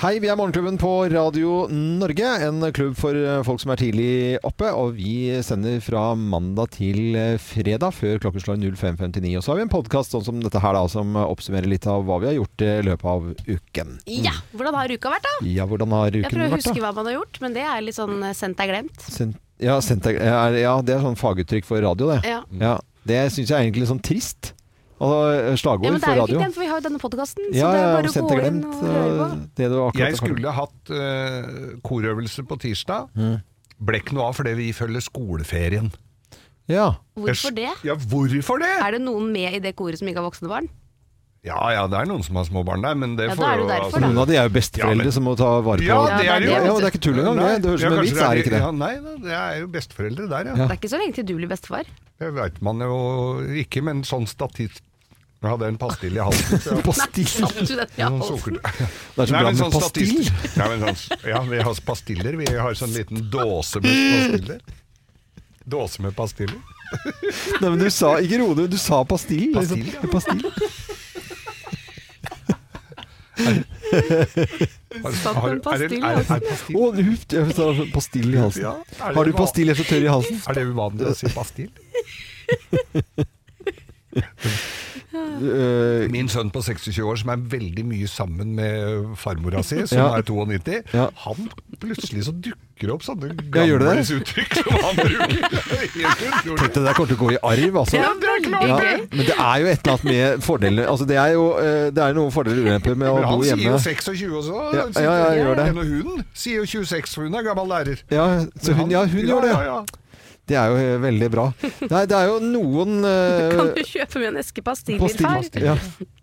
Hei, vi er Morgenklubben på Radio Norge. En klubb for eh, folk som er tidlig oppe. Og vi sender fra mandag til eh, fredag før klokken slår 05.59. Og så har vi en podkast sånn som dette her, da, som oppsummerer litt av hva vi har gjort eh, i løpet av uken. Ja, Hvordan har uka vært, da? Ja, hvordan har Jeg Mm. uken prøver å vært, huske da? hva man har gjort, men det er litt sånn eh, sendt er glemt. Sen- Ja, sendt deg- er- ja, det er sånn faguttrykk for radio, det. Ja. Mm. Ja, det syns jeg er egentlig litt sånn trist. Og slagord ja, Men det for er jo ikke radio. den, for vi har jo denne podkasten. Så Ja, det ja, er sendt bare å deg gå inn glemt, og høre på. eh, Det du akkurat har Jeg skulle hatt eh, korøvelse på tirsdag. Mm. Ble ikke noe av fordi vi følger skoleferien. Ja. Hvorfor det? Ja, hvorfor det? Er det noen med i det koret som ikke har voksne barn? Ja ja, det er noen som har små barn der, men det Ja, får da er det jo derfor, altså- da. Noen av de er jo besteforeldre Ja, men- som må ta vare på Ja, det er det jo. Ja, det er ikke tull engang. Nei, Det, det høres ut som ja, en kanskje vits, er det ikke det? Ja, nei, da, det er jo besteforeldre der, ja. Ja. Det er ikke så lenge til du blir bestefar. Det veit man jo ikke, men sånn statist... Jeg hadde en pastill i halsen. så jeg- Pastill. Satt du den i Sånn halsen? sukker- Det er så bra Nei, med men sånn pastill. statistisk- Nei, men sånn, ja, vi har pastiller. Vi har sånn liten dåse med pastiller. Dåse med pastiller. Nei, men du sa ikke rode, du sa pastill. Pastill, liksom. ja. pastill. Har- Satt har- en er det- pastill altså. i er det- halsen. er pastill- Å, huff, jeg sa pastill i Ja, halsen. er det Har du hva- pastill jeg er så tørr i halsen? Er det uvanlig å si pastill? Øh, Min sønn på 26 år som er veldig mye sammen med farmora si, som Ja. er 92, Ja. han plutselig så dukker opp sånne Ja, gjør det det? gamles uttrykk som han bruker. det der kommer til å gå i arv, altså. Ja, veldig Ja, gøy. men det er jo et eller annet med fordelene Altså det er jo øh, det er noen fordeler og ulemper med Men å han bo sier jo hjemme. 26 også. Ja, ja, ja, jeg gjør det. Men hun sier jo 26, for hun er gammel lærer. Ja, så hun, ja, hun gjør det. Ja, ja. Det er jo øh, veldig bra. Nei, det er jo noen Kan øh, du kjøpe med en eske pastiller, Pastill. far? Ja.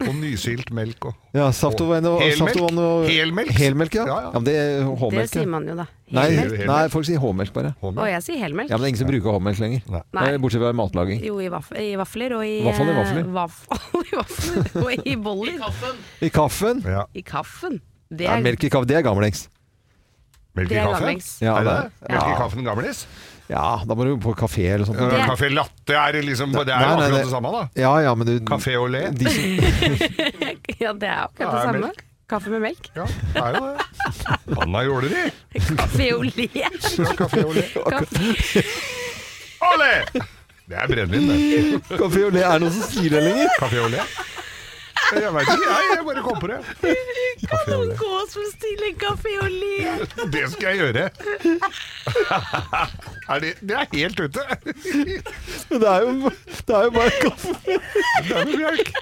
Og nysilt melk og Ja, saft og vann og Helmelk? saft og vann og- Helmelk? Helmelk, ja. Ja, ja, ja. men det er Det H-melk. ja. sier man jo, da. Nei, Helmelk. Helmelk. nei, folk sier H-melk bare. håndmelk. Og jeg sier helmelk. Ja, men det er ingen som bruker H-melk lenger. Nei. Nei. Eh, Bortsett fra i matlaging. Jo, i, vaff i vafler og i Vaffel i eh, vafler. vaffel i vafler og i boller. I kaffen Ja. I kaffen. Det ja, er, melk i kaffe, det er gammeldags. Melk i Det er kaffen? gammeldags. Ja, er det det det? er- Melk i ja. kaffen gamlis? Ja, da må du på kafé eller sånt. Det- Kafé latte er det liksom Det er Nei, jo nei, akkurat det- det samme, da. Ja, ja, men du Kafé au lait. de som- ja, det er akkurat Ja, det er samme. melk. Kaffe med melk. Ja, det er jo det. Anna Jåleri. Kaffe au lait. Fra Kafé au lait. Ole! Det er brennevin, det. Kafé og le er det noen som sier det lenger. Kafé au lait. Jeg veit ikke, jeg. Jeg bare kom på det. Kafé au lait. Gå og bestill en kaffe au lait. Det skal jeg gjøre. Er det, det er helt ute. Men det er jo, det er jo bare kaffe. Det er med melk.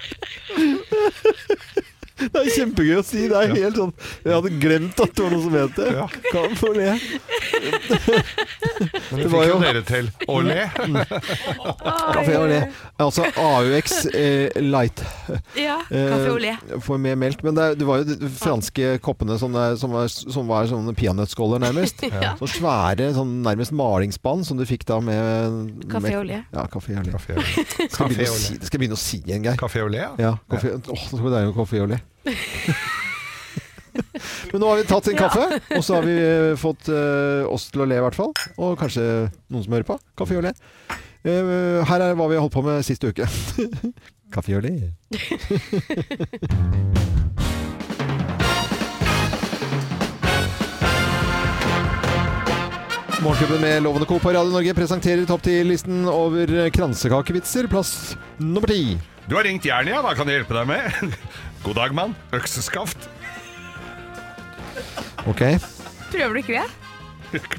Det er kjempegøy å si. Det er helt sånn Jeg hadde glemt at det var noe som het det. Ja. Kaffe og le. Men Det det var fikk jo jo- dere til. Au lait. Kafé og le. Altså AUX eh, Light. Ja, Eh, kaffe au lait. Får mer melk. Men det, er- det var jo de franske koppene som, er, som, var, som var sånne peanøttskåler, nærmest. Så svære, sånn nærmest malingsspann som du fikk da med Kaffe med- au lait. Ja, kafé au lait. Kafé au lait. Skal Kafé begynne å au si- lait. det skal jeg begynne å si igjen, Geir. Kafé au lait, ja. Ja, kaffe, Åh, så skal vi deilig med kaffe au lait. Men nå har vi tatt en Ja. kaffe, og så har vi eh, fått eh, oss til å le i hvert fall. Og kanskje noen som hører på. Kaffe au lait. Eh, her er hva vi har holdt på med sist uke. kaffe au lait. Morgenklubben med Lovende Co. på Radio Norge presenterer topp 10-listen over kransekakevitser, plass nummer ti. Du har ringt Jernia, hva kan jeg hjelpe deg med? God dag, mann. Økseskaft. Ok. Prøver du ikke det?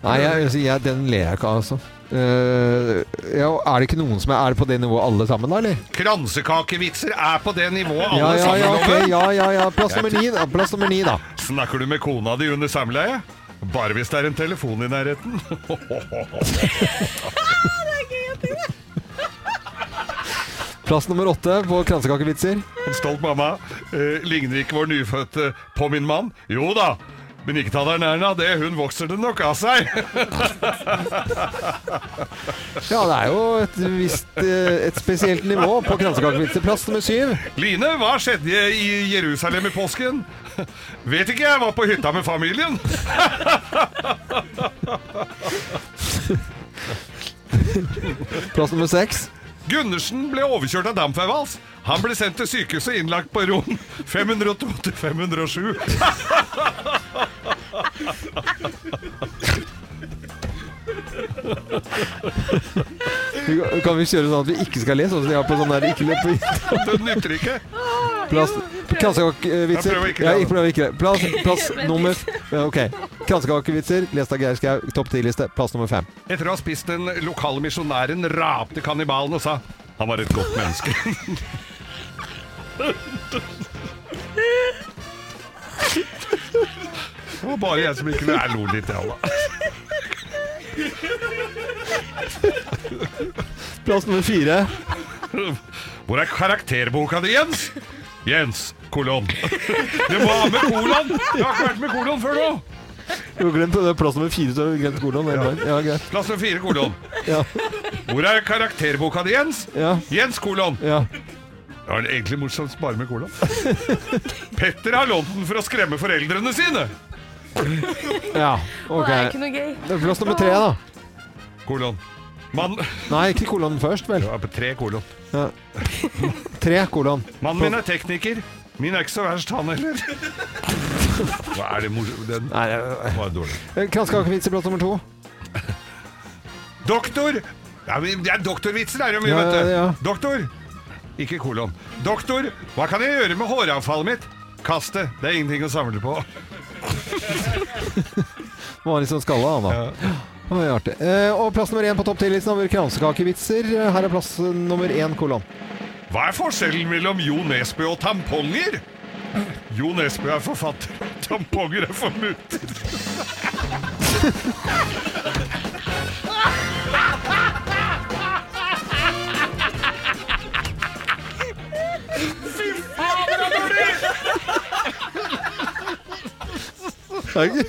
Nei, jeg, jeg, jeg, den ler jeg ikke av, altså. Eh, ja, og er det ikke noen som er, er det på det nivået alle sammen, da, eller? Kransekakevitser er på det nivået alle Ja, ja, ja, sammen ok. over. ja, ja, ja. Plass nummer ni, da. Plass nummer ni, da. Snakker du med kona di under samleie? Bare hvis det er en telefon i nærheten. Plass nummer åtte på kransekakevitser. En stolt mamma. Eh, ligner ikke vår nyfødte på min mann? Jo da, men ikke ta deg nær av det. Hun vokser det nok av seg. Ja, det er jo et visst eh, et spesielt nivå på kransekakevitser. Plass nummer syv. Line, hva skjedde i Jerusalem i påsken? Vet ikke, jeg var på hytta med familien. Plass nummer seks. Gundersen ble overkjørt av dampveivals. Han ble sendt til sykehuset og innlagt på rom 502 til 507. Vi kan- Kan vi kjøre sånn at vi ikke skal le, sånn som de har på sånn der ikke le på Det nytter ikke. plass Jeg Kransekakevitser. prøver ikke Ja, det. ikke prøv å ikke le. Plass, plass Men- nummer ja, Ok. Kransekakevitser, lest av Geir Skau, topp ti-liste, plass nummer fem. Etter å ha spist den lokale misjonæren rapte kannibalen og sa han var et godt menneske. Det var bare jeg som ikke Jeg lo litt, jeg òg. Plass nummer fire. Hvor er karakterboka di, Jens? Jens, kolon. Du må ha med kolon! Du har ikke vært med kolon før nå! Jo, glemt det. Plass nummer fire, så har vi glemt kolon. Ja, greit. Plass nummer fire, kolon. Ja. Hvor er karakterboka di, Jens? Ja. Jens, kolon. Ja. Det var egentlig morsomt bare med kolon. Petter har lånt den for å skremme foreldrene sine. ja. Det er Ok. ikke noe gøy. Plass nummer tre, da. Kolon. Mann Nei, ikke kolon først, vel. Ja, på tre kolon. Ja. Tre kolon. Mannen min er tekniker. Min er ikke så verst, han heller. Hva er det morsomt? Den Nei, eh, var dårlig. Kransekakevitser, plass nummer to. Doktor! Ja, men det er doktorvitser der jo mye, Ja, vet du. ja, ja. Doktor! Ikke kolon. Doktor, hva kan jeg gjøre med håravfallet mitt? Kast det. Det er ingenting å samle på. Må ha litt sånn skalla, han da. Det var artig. Eh, og plass nummer én på topp ti-listen over kransekakevitser. Her er plass eh, nummer én, kolon. Hva er forskjellen mellom Jo Nesbø og tamponger? Jo Nesbø er forfatter, tamponger er formutter. Fy fader,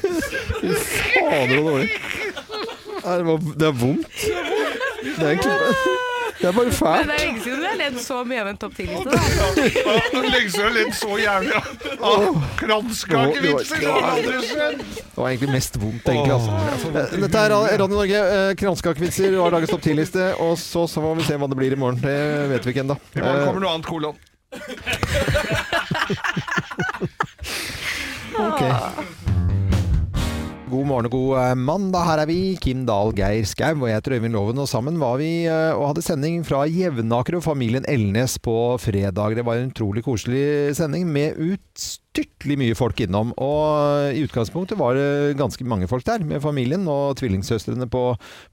så dårlig. Nei, Det, var, det er vondt. Det er, egentlig, det er bare Men fælt. det er lenge siden vi har ledd så mye av en topp 10-liste. Legge seg litt så jævlig av- av kranskakevitser. Det har aldri skjedd. Det var egentlig mest vondt, egentlig. Åh, jeg får Altså. vondt i Eh, Dette er Radio Norge. eh, Kransekakevitser var dagens topp ti-liste. Og så, så får vi se hva det blir i morgen. Det vet vi ikke ennå. I morgen kommer noe annet kolon. God morgen og god eh, mandag. Her er vi, Kim Dahl, Geir Skau og jeg heter Øyvind Loven. Og sammen var vi eh, og hadde sending fra Jevnaker og familien Elnes på fredag. Det var en utrolig koselig sending med utstyrtelig mye folk innom. Og eh, i utgangspunktet var det ganske mange folk der med familien og tvillingsøstrene på,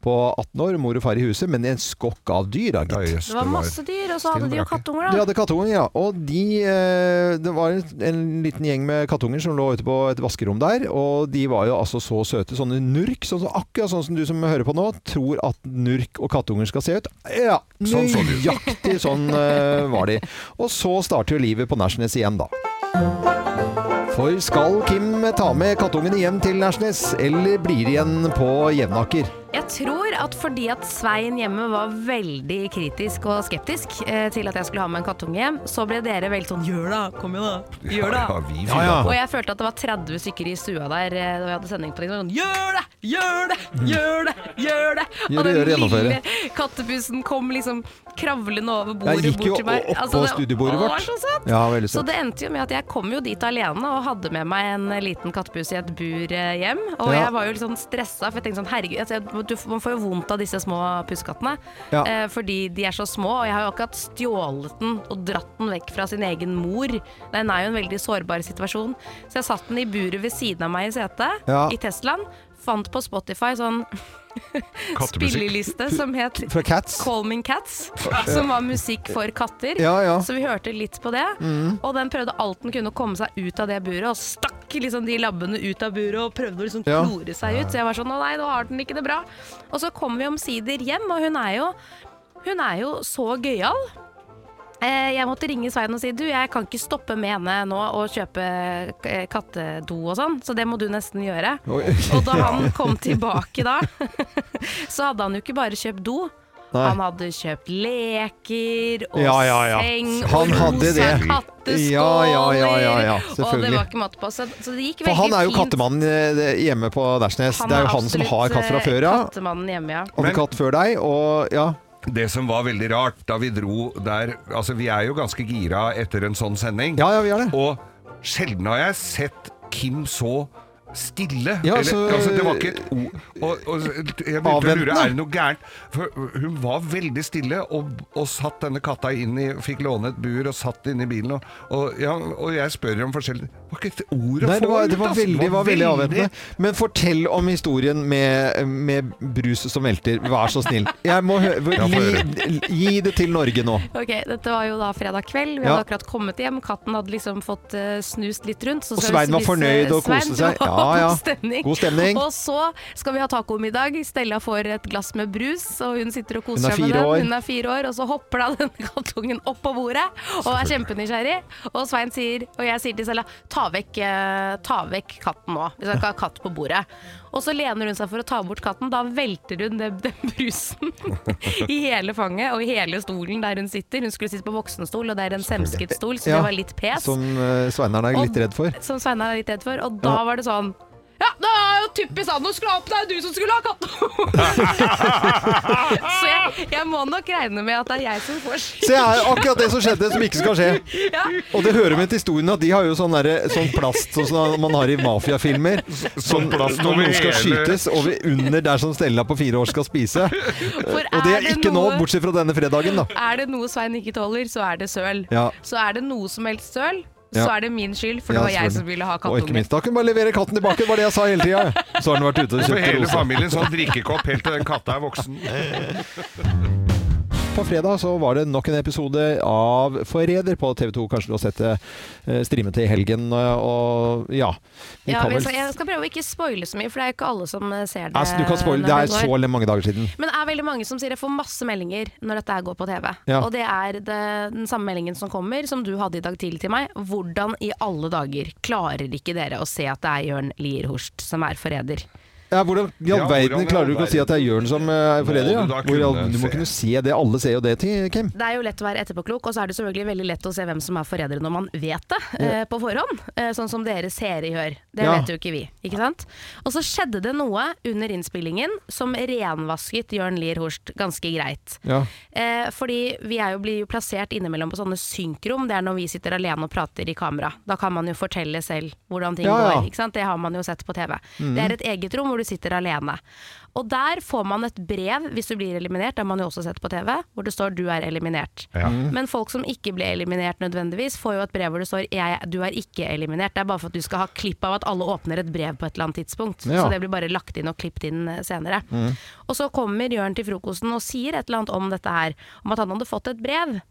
på 18 år, mor og far i huset, men en skokk av dyr, da, gitt. Det var masse dyr, og så hadde de jo kattunger, De da. hadde kattunger, ja. Og de, eh, det var en, en liten gjeng med kattunger som lå ute på et vaskerom der. Og de var jo altså så søte. Sånne nurk. Sånn som, akkurat sånn som du som hører på nå, tror at nurk og kattunger skal se ut. Ja, Sånn så de ut. nøyaktig sånn eh, var de. Og så starter jo livet på Nashnes igjen, da. For skal Kim ta med kattungene hjem til Nashnes, eller blir de igjen på Jevnaker? Jeg tror at fordi at Svein hjemme var veldig kritisk og skeptisk eh, til at jeg skulle ha med en kattunge hjem, så ble dere veldig sånn gjør da, kom igjen da, gjør da. vi Ja, ja. Og jeg følte at det var 30 stykker i stua der eh, da vi hadde sending på det. Sånn, gjør det, gjør det, gjør det, gjør det. Mm. Gjør og det, gjør den det, gjennomføre. lille kattepussen kom liksom kravlende over Jeg bordet gikk jo bort til meg. Altså, opp på studiebordet vårt. vårt. Var så søtt. Ja, veldig Så søtt. det endte jo med at jeg kom jo dit alene og hadde med meg en eh, liten kattepus i et bur eh, hjem. Og Ja. jeg var jo litt sånn stressa, for jeg tenkte sånn herregud, altså, jeg- du, man får jo vondt av disse små pussekattene. Ja. Eh, fordi de er så små, og jeg har jo akkurat stjålet den og dratt den vekk fra sin egen mor. Den er jo en veldig sårbar situasjon. Så jeg satt den i buret ved siden av meg i setet, Ja. i Teslaen. Fant på Spotify sånn Kattemusikk. spilleliste som het Fra Cats? Calming Cats, som var musikk for katter. Ja, ja. Så vi hørte litt på det. Og den prøvde alt den kunne å komme seg ut av det buret, og stakk liksom de labbene ut av buret og prøvde å liksom Ja. klore seg ut. Så jeg var sånn å nei, nå har den ikke det bra. Og så kom vi omsider hjem, og hun er jo, hun er jo så gøyal. Eh, Jeg måtte ringe Svein og si du, jeg kan ikke stoppe med henne nå og kjøpe eh, kattedo og sånn, så det må du nesten gjøre. Oi. Og da han kom tilbake da, så hadde han jo ikke bare kjøpt do. Nei. Han hadde kjøpt leker og Ja, ja, ja. seng Han og hadde rosa det. katteskåler. Ja, ja, ja, ja, ja, og det selvfølgelig. var ikke måte på. Så, så det gikk For veldig han er jo fint. kattemannen eh, det- hjemme på Dersnes. Det er jo han som absolutt, har katt fra eh, før, ja. Kattemannen hjemme, ja. Hadde Men- katt før deg, og ja. Det som var veldig rart da vi dro der Altså, vi er jo ganske gira etter en sånn sending. Ja, ja, vi er det. Og sjelden har jeg sett Kim så stille. Ja, Eller, så- altså, det var ikke et ord og, og, Jeg begynte å Avventende. lure, er det noe gærent? For hun var veldig stille, og, og satt denne katta inn i Fikk låne et bur og satt inne i bilen. Og, og, ja, og jeg spør om forskjellig Det var ikke et ord å Nei, det få var, ut! det var altså. veldig, var veldig avventende. Men fortell om historien med, med brus som velter. Vær så snill. Jeg må hø Ja, få gi, gi det til Norge nå. Ok, Dette var jo da fredag kveld. Vi Ja. hadde akkurat kommet hjem. Katten hadde liksom fått eh, snust litt rundt. så Og skal Svein vi var spise- fornøyd og Svein, koste det seg. var Ja, ja. God stemning. God stemning. Og så skal vi ha tacomiddag. Stella får et glass med brus, og hun sitter og Hun er koser seg med fire den. år. Hun er fire år. Og så hopper da denne kattungen opp på bordet og er kjempenysgjerrig. Og Svein sier, og jeg sier til Stella, ta vekk, eh, ta vekk katten nå. Vi skal ikke ha katt på bordet. Og så lener hun seg for å ta bort katten. Da velter hun den, den brusen i hele fanget og i hele stolen der hun sitter. Hun skulle sitte på voksenstol, og det er en semsket stol, så Ja, det var litt pes. Som eh, Sveinaren er litt redd for. Som Sveinar er litt redd for. Og da Ja. var det sånn ja, det er jo typisk han å skulle ha opp, det er jo du som skulle ha katt! så jeg, jeg må nok regne med at det er jeg som får skyld. Se her, akkurat det som skjedde, som ikke skal skje. Ja. Og det hører med til historien at de har jo sånn, derre- sånn plast sånn som man har i mafiafilmer. Sånn plast når over noen skal hele- skytes over under der som Stella på fire år skal spise. For Og det er ikke nå, noe, bortsett fra denne fredagen, da. er det noe Svein ikke tåler, så er det søl. Ja. Så er det noe som helst søl, så Ja. er det min skyld, for Ja, det var jeg selvfølgelig. som ville ha Og ikke kattungen. minst, da kan du bare levere katten tilbake, det var det jeg sa hele tida. Så har den vært ute og For kjøpt hele rosa. familien sånn drikkekopp helt til den katta er voksen. På fredag så var det nok en episode av Forræder på TV 2. Kanskje du har sett det eh, streamet i helgen. eh, Og ja, vi Ja, kan men vel så jeg skal prøve å ikke spoile så mye, for det er jo ikke alle som eh, ser det. Altså, du kan spoil, når Det er det så går. mange dager siden. Men det er veldig mange som sier jeg får masse meldinger når dette her går på TV. Ja. Og det er det, den samme meldingen som kommer, som du hadde i dag tidlig til meg. Hvordan i alle dager klarer ikke dere å se at det er Jørn Lierhorst som er forræder? Ja, hvordan i all Ja, verden hvordan i klarer all du ikke å si at det er Jørn som eh, er forræder? Må Ja? du da Hvor i all- kunne Du må se. kunne se det. Alle ser jo det til Kim. Det er jo lett å være etterpåklok, og så er det selvfølgelig veldig lett å se hvem som er forræder når man vet det eh, på forhånd. Eh, sånn som dere seere gjør. Det Ja. vet jo ikke vi, ikke sant? Og så skjedde det noe under innspillingen som renvasket Jørn Lierhorst ganske greit. Ja. Eh, fordi vi er jo, blir jo plassert innimellom på sånne synkrom. Det er når vi sitter alene og prater i kamera. Da kan man jo fortelle selv hvordan ting Ja, Mhm. ja. går. Ikke sant? Det har man jo sett på TV. Det er et eget rom hvor du sitter alene. Og der får man et brev hvis du blir eliminert, det har man jo også sett på TV, hvor det står 'du er eliminert'. Mhm. Men folk som ikke ble eliminert nødvendigvis, får jo et brev hvor det står jeg, 'du er ikke eliminert'. Det er bare for at du skal ha klipp av at alle åpner et brev på et eller annet tidspunkt. Ja. Så det blir bare lagt inn og klippet inn eh, senere. Mm. Og så kommer Jørn til frokosten og sier et eller annet om dette her, om at han hadde fått et brev.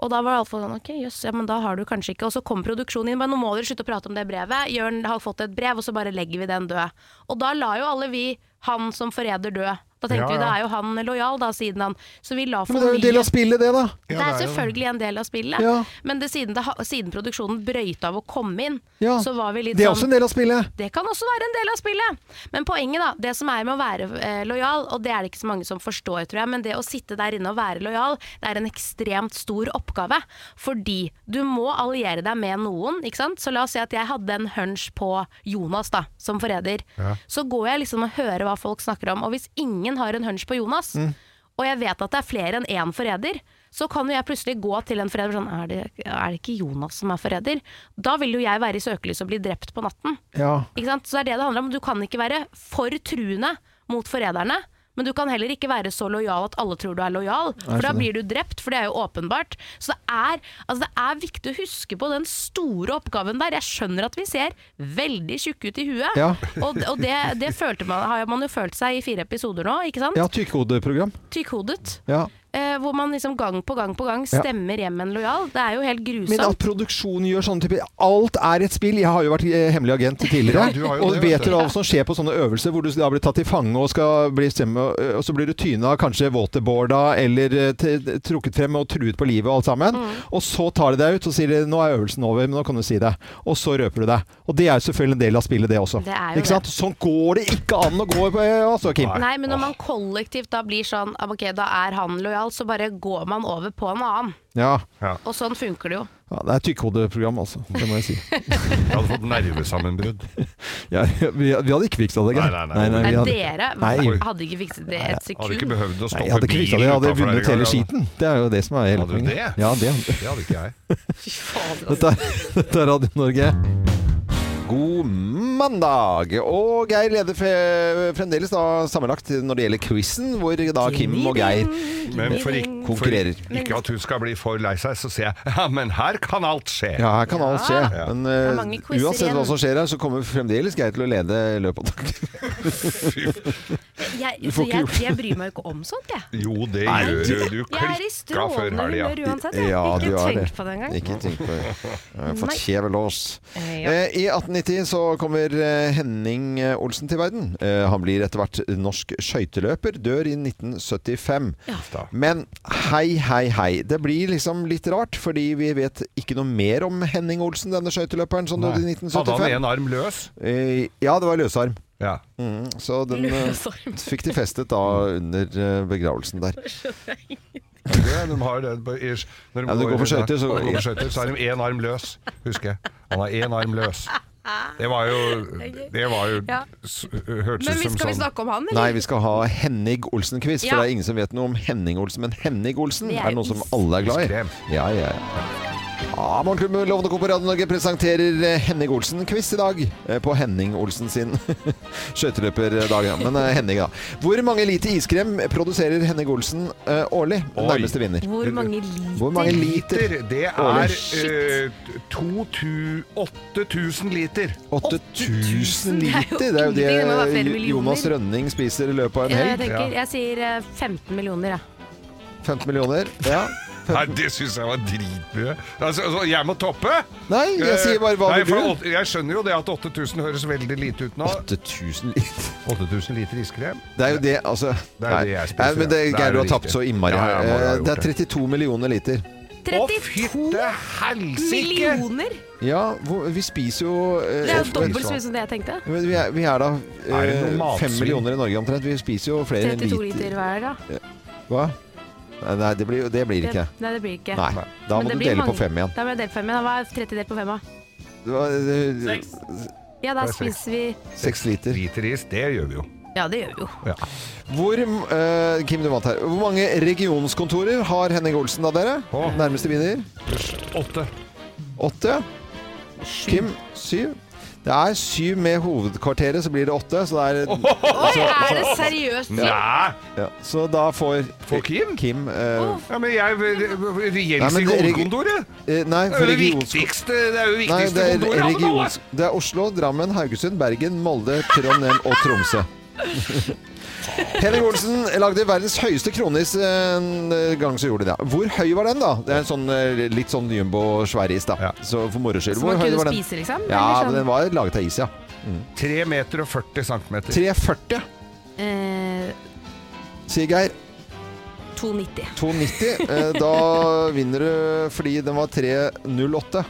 Og da var det iallfall sånn, ok, jøss, ja, men da har du kanskje ikke Og så kom produksjonen inn, men nå må dere slutte å prate om det brevet. Jørn har fått et brev, og så bare legger vi den død. Og da la jo alle vi han som forræder død. Da tenkte Ja, vi ja. da er jo han lojal, da, siden han Så vi la for Men det er jo en del av spillet, det, da. det er Ja, det er jo- selvfølgelig en del av spillet, Ja. men det, siden, det, ha- siden produksjonen brøyta av å komme inn, Ja. så var vi litt Det er sånn også en del av spillet. det kan også være en del av spillet. Men poenget, da. Det som er med å være eh, lojal, og det er det ikke så mange som forstår, tror jeg, men det å sitte der inne og være lojal, det er en ekstremt stor oppgave. Fordi du må alliere deg med noen, ikke sant. Så la oss si at jeg hadde en hunch på Jonas, da, som forræder. Så går jeg liksom og hører hva folk snakker om, og hvis ingen har en hunch på Jonas, og jeg vet at det er flere enn én forræder, så kan jo jeg plutselig gå til en forræder sånn er det, er det ikke Jonas som er forræder? Da vil jo jeg være i søkelyset og bli drept på natten. Ja. Ikke sant? Så det er det det handler om. Du kan ikke være for truende mot forræderne. Men du kan heller ikke være så lojal at alle tror du er lojal, for da skjønner. blir du drept. For det er jo åpenbart. Så det er, altså det er viktig å huske på den store oppgaven der. Jeg skjønner at vi ser veldig tjukke ut i huet, Ja. og, og det, det følte man, har man jo følt seg i fire episoder nå, ikke sant? ja Tykkhodeprogram. Tykkhodet. Ja. Eh, hvor man liksom gang på gang på gang stemmer hjem en lojal. Det er jo helt Men grusomt. at produksjonen gjør sånne typer Alt er et spill. Jeg har jo vært eh, hemmelig agent tidligere. Ja, du har jo og det, vet vet du. dere hva som skjer på sånne øvelser hvor du da blir tatt til fange og skal bli stemme, og så blir du tyna, kanskje waterboarda eller eh, t- trukket frem og truet på livet og alt sammen. Mm. Og så tar de deg ut og sier de, 'nå er øvelsen over, men nå kan du si det'. Og så røper du deg. Og det er jo selvfølgelig en del av spillet, det også. Det er jo ikke sant? Sånn går det ikke an å gå på, eh, altså, Kim. Nei, men når man kollektivt da blir sånn ah, Ok, da er han lojal, så bare går man over på en annen. Ja. Og sånn funker det jo. Ja, det er et tykkhodeprogram, altså. Det må jeg si. Jeg hadde fått nervesammenbrudd. Ja, vi, vi hadde ikke fiksa det, Geir. Nei, nei, nei. Nei, vi hadde, dere Nei. hadde ikke fikset det et Hadde sekund. ikke behøvd å nei, stå jeg hadde ikke fiksa det. Jeg hadde vunnet hele skiten. Det er jo det som er hele Hadde du poenget. det? Ja, det. Det hadde ikke jeg. Fy fader, altså. Dette er, dette er Radio Norge. God mandag! Og Geir leder fe- fremdeles da sammenlagt når det gjelder quizen, hvor da Kim og Geir Men for ikke, for konkurrerer. ikke at hun skal bli for lei seg, så sier jeg ja, men her kan alt skje. Ja, her kan alt skje. Ja. Men er mange eh, quizer uansett hva igjen. som skjer her, så kommer fremdeles Geir til å lede løpet av dagen. Jeg, Du får ikke så jeg, gjort- jeg bryr meg jo ikke om sånt, jeg. Jo, det Nei, gjør du- jo du. Jeg er i Klikka før strålende helga. humør uansett. Jeg. Ja, du ikke er tenk det. på det engang. Ikke tenk på det. Jeg har Nei. fått kjevelås. Ja. Eh, I 1890 så kommer eh, Henning eh, Olsen til verden. Eh, Han blir etter hvert norsk skøyteløper. Dør i 1975. Da. Men hei, hei, hei. Det blir liksom litt rart, fordi vi vet ikke noe mer om Henning Olsen, denne skøyteløperen som døde i Hadde 1975. han en arm løs? Eh, Ja, det var løsarm. Ja. Mm, så den eh, Løsarm. fikk de festet da under eh, begravelsen der. Det, de har det på, i, når de Ja, du går på skøyter, så- når de går på skøyter, så har de én arm løs, husker jeg. Han har én arm løs. Det var jo Det var jo Ja. s- Hørtes Men vi ut skal som vi sånn snakke om han, Nei, eller? vi skal ha Henning Olsen-quiz, for Ja. det er ingen som vet noe om Henning Olsen. Men Henning Olsen Det er, er noe som is. alle er glad i. Iskrem. Ja, ja, ja. Ja, Morgenklubben Lovende Co. på Radio Norge presenterer eh, Henning Olsen-quiz i dag. eh, På Henning Olsen sin skøyteløperdag. ja. Men eh, Henning, da. Hvor mange liter iskrem produserer Henning Olsen eh, årlig? Den Oi. nærmeste vinner. Hvor mange liter? Hvor mange liter? Liter, det Årlig. er eh, to tu- 8000 liter. 8000 Det er liter! jo Det er jo det ingenting, det må være flere eh, Jonas millioner. Rønning spiser i løpet av en Jeg, helg. tenker, jeg sier eh, 15 millioner, jeg. 15 millioner. Ja. Nei, det syns jeg var dritmye. Altså, altså, jeg må toppe! Nei, jeg sier bare hva Nei, vil for du? åt- Jeg skjønner jo det at 8000 høres veldig lite ut nå. 8000 liter. 8000 liter iskrem? Det er jo det, altså Det er jo nei. det jeg spiser, Nei, men det ja. Det er Geir, du jo har tapt så riktig. innmari. Ja, jeg må ha Eh, gjort det er 32 millioner liter. Å, 32 fytte helsike! millioner! Ja, hvor, vi spiser jo eh, Det er jo ofte- dobbelt så mye som det jeg tenkte. Men vi, er, vi er da Er det noe eh, matsvinn? fem millioner i Norge omtrent. Vi spiser jo flere enn 32 liter. liter hver, da. Hva? Nei, Nei, det blir, det blir ikke. Nei, det blir ikke. Nei, da Men må det du blir dele på mange. fem igjen. Da må jeg dele på fem. igjen. Da var 30 delt på fem, da. Det var, eh, Ja, da Det er seks. spiser vi Seks liter. Liter is, det gjør vi jo. Ja, det gjør vi jo. Ja. Hvor, eh, Kim, du vant her. Hvor mange regionskontorer har Henning Olsen da, dere? Å. Nærmeste vinner? Åtte. Åtte. Kim, syv. Det er syv med hovedkvarteret, så blir det åtte. Så det er Oi, er det seriøst? Nei! Altså, Ja, så da får Får Kim? Kim eh, Ja, men jeg Nei, Regjels men i det- hovedkontoret! eh, Nei, Det for er det regions... viktigste, det er jo det Nei, viktigste det er, kontoret! alle dager. regions... det er Oslo, Drammen, Haugesund, Bergen, Molde, Trondheim og Tromsø. Henning Olsen lagde verdens høyeste kronis eh, en gang så gjorde de det. Hvor høy var den, da? Det er en sånn, eh, litt sånn jumbo-sværis, da. Ja. Så for moro skyld. Så Hvor man høy kunne var den? spise, liksom? Ja, Eller men den var laget av is, ja. 3 meter og 40 centimeter. 3,40, sånn, eh, sier Geir. 2,90. 2,90. Eh, Da vinner du fordi den var 3,08.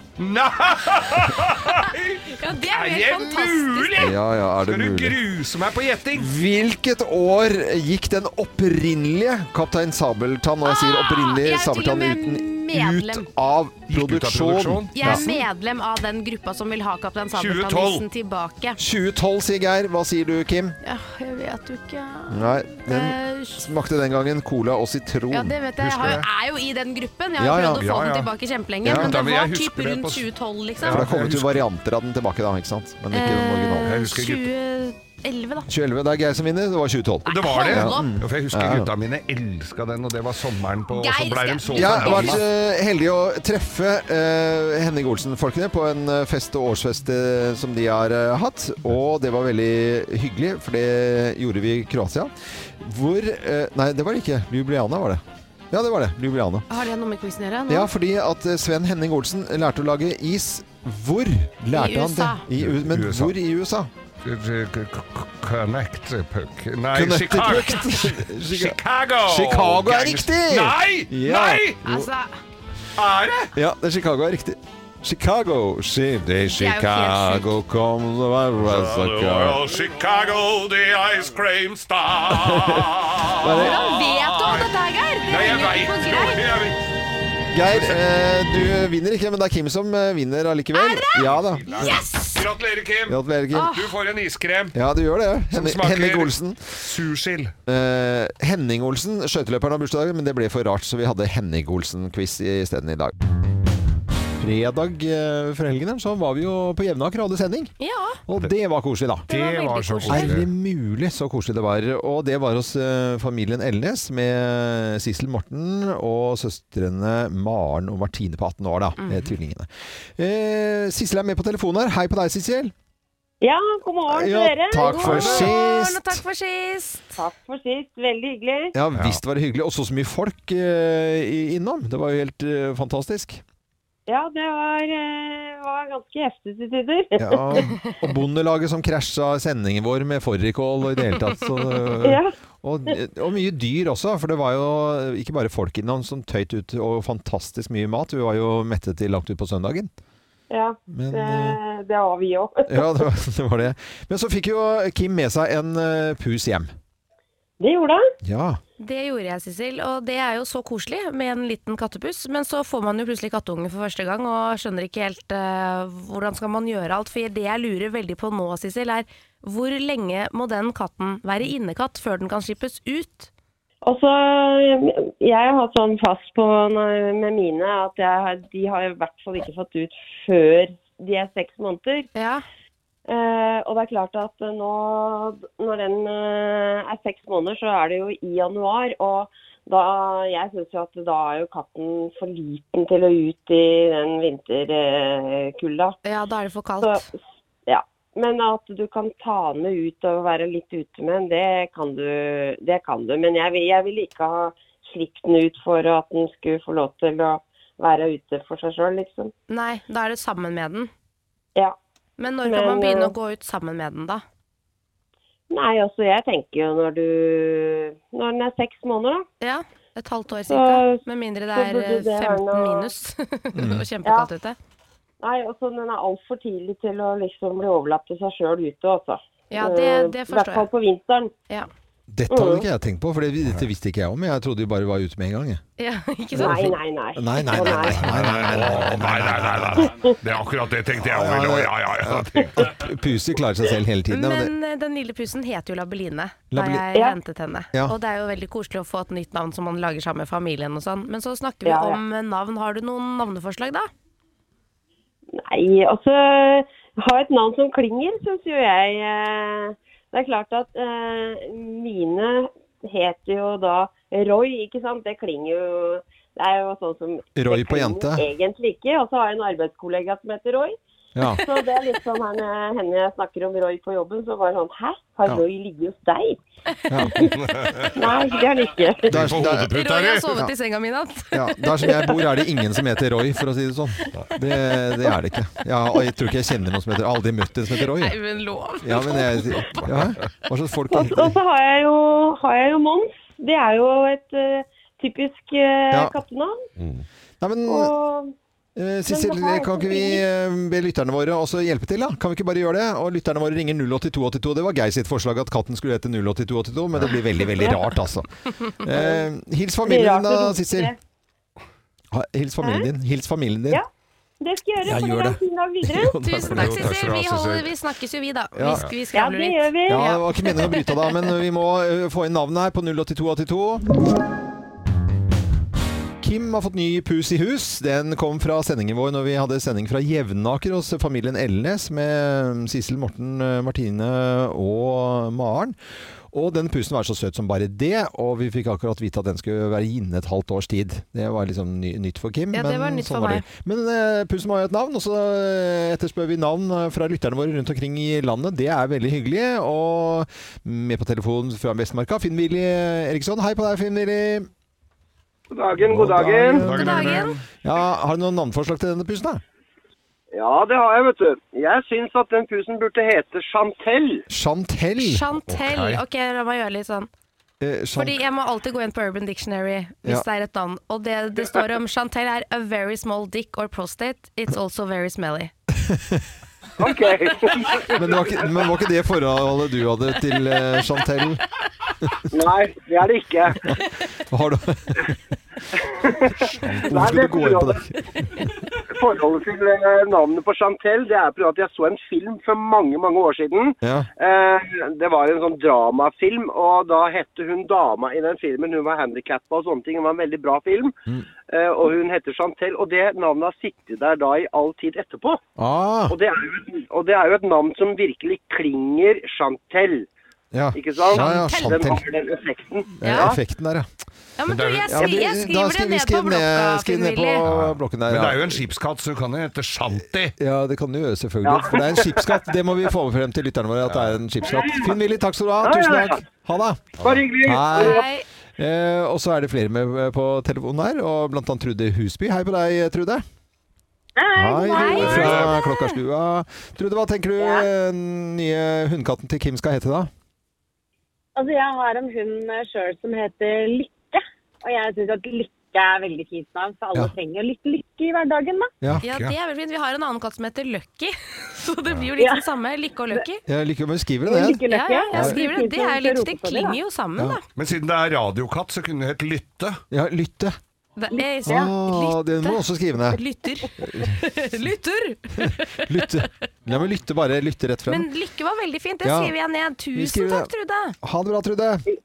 Nei! Ja, det Er er jo det helt fantastisk! mulig?! Ja, ja, er det Skal du mulig? gruse meg på gjetting? Hvilket år gikk den opprinnelige Kaptein Sabeltann, og jeg sier Ah, jeg opprinnelig er til og Sabeltann med uten medlem. ut av Gikk ut av produksjon? produksjon? Jeg er medlem av den gruppa som vil ha Kaptein 2012. Sabeltann-nissen tilbake. 2012, sier Geir. Hva sier du, Kim? Ja, jeg vet jo ikke Nei, den Eh, smakte den gangen cola og sitron. Ja, det vet jeg. Jeg Husker har, jo- det. er jo i den gruppen. Jeg har Ja, ja. prøvd å få Ja, ja. den tilbake kjempelenge, Ja. men Ja, det men var jeg typ husker det rundt på- 2012, For liksom. det har kommet jeg ut husker- varianter av den tilbake, da, ikke sant? Men ikke den originale. Eh, Jeg husker 2011, da. 2011, det er Geir som vinner. Det var 2012. Det var det. hold Ja, opp. for jeg husker Ja, ja. gutta mine elska den, og det var sommeren på Og så Geir, blei de så skal- Jeg har vært forbanna. eh, heldig å treffe eh, Henning Olsen-folkene på en eh, fest og årsfest eh, som de har eh, hatt. Og det var veldig hyggelig, for det gjorde vi i Kroatia. Hvor eh, Nei, det var det ikke. Ljubljana var det. Ja, det var det. Ljubljana. Har det noe med quizen å gjøre? nå? Ja, fordi at eh, Sven Henning Olsen lærte å lage is. Hvor lærte han det? USA. I U men USA. hvor i USA? Connecticut Nei, Connecticut. Chicago. Chicago. Chicago! Chicago er Gangst- riktig! Nei! Ja. Nei! Altså, Er det? Ja, det er Chicago er riktig. Chicago, she, de Chicago comes Hello, Chicago, the ice cream star. Hva er det? hvordan vet du alt dette her, Geir? Det Nei, jeg henger ikke veit på jo greip. jeg vet- Geir, eh, du vinner ikke, men det er Kim som eh, vinner allikevel. Ja da. Gratulerer, Kim! Gratulerer, Kim. Du får en iskrem Ja, du gjør det. som Henning, smaker Henning Olsen. sursild. Eh, Henning Olsen, skøyteløperen har bursdag, men det ble for rart, så vi hadde Henning Olsen-quiz isteden i dag. Fredag eh, for helgen her, så var vi jo på Jevnaker og hadde sending. Ja. Og det var koselig, da. Det var var veldig så Er det koselig. mulig så koselig det var? Og det var hos eh, familien Elnes med Sissel Morten og søstrene Maren og Martine på 18 år, da. eh, Tvillingene. Eh, Sissel er med på telefonen her. Hei på deg, Sissel. Ja, god morgen til Ja, dere. takk for Morgen, og sist. takk for sist. Takk for sist. Veldig hyggelig. Ja visst var det hyggelig. Og så så mye folk eh, i- innom. Det var jo helt eh, fantastisk. Ja, det var, eh, var ganske heftig til tider. Ja, og Bondelaget som krasja sendingen vår med fårikål og i det hele tatt. Så, eh, Ja, Og, og mye dyr også, for det var jo ikke bare folk innom som tøyt ut, og fantastisk mye mat. Vi var jo mettet til langt ut på søndagen. ja Men, det, eh, det har vi òg. ja, det var, det var det. Men så fikk jo Kim med seg en eh, pus hjem. Det gjorde det. Ja. Det gjorde jeg, Sissel, og det er jo så koselig med en liten kattepuss. Men så får man jo plutselig kattunge for første gang, og skjønner ikke helt eh, hvordan skal man gjøre alt. For det jeg lurer veldig på nå, Sissel, er hvor lenge må den katten være innekatt før den kan slippes ut? Og så, eh, Jeg har hatt sånn fast på når- med mine at jeg, har- de har i hvert fall ikke fått ut før de er seks måneder. Ja. Eh, og det er klart at eh, nå, når den eh, er seks måneder, så er det jo i januar. Og da, jeg syns jo at da er jo katten for liten til å ut i den vinterkulda. ja, da er det for Så, kaldt. ja. Men at du kan ta den med ut og være litt ute med den, det kan du. Det kan du. Men jeg, vil- jeg ville ikke ha slikt den ut for at den skulle få lov til å være ute for seg sjøl, liksom. Nei, da er det sammen med den. Ja. Men når kan man Men, begynne eh, å gå ut sammen med den, da? Nei, altså jeg tenker jo når du Når den er seks måneder, da. Ja, et halvt år cirka. Med mindre det så er burde eh, det være 15 noe- Mm. minus og kjempekaldt ute. Nei, altså den er altfor tidlig til å liksom bli overlatt til seg sjøl ute, altså. Ja, det, det Eh, I hvert forstår fall jeg. på vinteren. Ja. Dette hadde ikke jeg tenkt på, for det, dette visste ikke jeg om. Jeg trodde de bare var ute med en gang. jeg. ja, ikke sant? Nei, nei, nei. Nei, nei, Å, nei. nei, nei, nei, nei, nei, Å, nei, nei, nei, nei, nei. Det er akkurat det tenkte jeg òg. Ja, ja, ja, ja. nei. Puser klarer seg selv hele tiden. Men det, Men eh, den lille pussen heter jo Labeline da Labeli- jeg Ja. hentet henne. Ja. Og det er jo veldig koselig å få et nytt navn som man lager sammen med familien og sånn. Men så snakker vi Ja, ja. om eh, navn. Har du noen navneforslag da? Nei, altså ha et navn som klinger, syns jo jeg. eh, Det er klart at eh, mine heter jo da Roy, ikke sant. Det klinger jo Det er jo sånn som det Roy på klinger jente. Egentlig ikke. Og så har jeg en arbeidskollega som heter Roy. ja. Så det er litt sånn her når henne jeg snakker om Roy på jobben, så var det sånn Hæ, har Ja. Roy ligget hos deg? Ja. Nei, det har han ikke. Der, På der, Roy hodeputa har di! Ja. sovet i senga mi i natt. Ja, Der som jeg bor er det ingen som heter Roy, for å si det sånn. Det, det er det ikke. Ja, og jeg tror ikke jeg kjenner noen som heter Jeg har aldri møtt en som heter Roy. Nei, jeg. men lov. Ja, men jeg, ja, hva slags folk Og, og så har jeg, jo, har jeg jo Mons. Det er jo et eh, typisk uh, Ja. kattenavn. Nei, men Og eh, Sissel, kan ikke vi eh, be lytterne våre også hjelpe til, da? Kan vi ikke bare gjøre det? Og lytterne våre ringer 08282. Det var Geir sitt forslag at katten skulle hete 08282, men det blir veldig, veldig rart, altså. Eh, hils det blir familien rart din å da, rope Sissel. det. Ha- Hils familien din. Hils familien din. Ja. Det skal jeg Ja, gjøre. for gjør dere ha det. en fin dag videre. Jo, takk for det. Tusen takk, Jo, takk skal Sissel. du ha, Vi, Sissel. holder, vi snakkes jo vi, da. Ja. Vi, sk- vi Ja, skravler det litt. gjør vi. Ja, det var ikke meningen å bryte da, men vi må eh, få inn navnet her på 08282. Kim har fått ny pus i hus. Den kom fra sendingen vår når vi hadde sending fra Jevnaker hos familien Elnes med Sissel, Morten, eh, Martine og Maren. Og den pusen var så søt som bare det, og vi fikk akkurat vite at den skulle være inne et halvt års tid. Det var liksom ny, nytt for Kim. Ja, det var nytt for meg. det. Men eh, pusen må ha et navn, og så eh, etterspør vi navn eh, fra lytterne våre rundt omkring i landet. Det er veldig hyggelig. Og med på telefonen fra Vestmarka, Finn-Willy eh, Eriksson. Hei på deg, Finn-Willy. God dagen, god dagen. God dagen. Ja, har du noen navnforslag til denne pusen, da? Ja, det har jeg, vet du. Jeg syns at den pusen burde hete Chantelle. Chantel. Chantel. Ok. Ok, la meg gjøre litt sånn. Eh, Chan- Fordi jeg må alltid gå inn på Urban Dictionary hvis Ja. det er et navn. Og det det står om Chantel er a very small dick or prostate. It's also very smelly. Ok. men, det var ikke, men var ikke det forholdet du hadde til eh, Chantel? Nei, det er det ikke. Har du, Hvorfor skulle du gå inn på det? Forholdet til eh, navnet på Chantel det er på grunn av at jeg så en film for mange mange år siden. Ja. Eh, Det var en sånn dramafilm, og da hette hun dama i den filmen. Hun var handikappa og sånne ting. Det var en veldig bra film. Mm. Eh, Og hun heter Chantel. Og det navnet har sittet der da i all tid etterpå. Ah, Og det er jo et, og det er jo et navn som virkelig klinger Chantel. ja. Ikke sant? Ja, ja, Den Chantel. har den effekten. Ja. Effekten der, ja. Ja, men du, jeg, ja skri, jeg da skriver det skal vi skrive ned på blokka, ned- skrive ned Finn-Willy. på eh, blokken der. Men det er jo Ja. en skipskatt, så du kan jo hete Shanti. Ja, det kan du gjøre, selvfølgelig. For det er en skipskatt. Det må vi få frem til lytterne våre, at det er en skipskatt. Finn-Willy, takk skal du ha. Ja, Tusen ja, ja. takk. Ha det. Bare hyggelig. Hei. Nei, Eh, og så er det flere med eh, på telefonen her, og blant annet Trude Husby. Hei på deg, eh, Trude. Hei, Trude Hei, fra Klokkarstua. Trude, hva tenker du eh, nye hundekatten til Kim skal hete da? Altså, jeg har en hund eh, sjøl som heter Lykke. Og jeg syns at Lykke er veldig fint navn, for alle Ja. trenger litt lykke i hverdagen, da. ja, det er veldig fint. Vi har en annen katt som heter Lucky, så det blir jo litt Ja. det samme. Lykke og Lucky. Jeg liker jo om hun skriver det ned. Lykke, Ja, lykke. ja, Ja. jeg skriver det. Det er jo litt, det klinger jo. jo sammen, da. Men siden det er radiokatt, så kunne du hett Lytte. Ja, lytte. Det er, Ah, lytte. det må du også skrive ned. Lytter. Lytter! Lytte. Nei, men lytte bare. Lytte rett frem. Men Lykke var veldig fint. Det Ja. skriver jeg ned. Vi Tusen skriver takk, Trude. Ha det bra, Trude.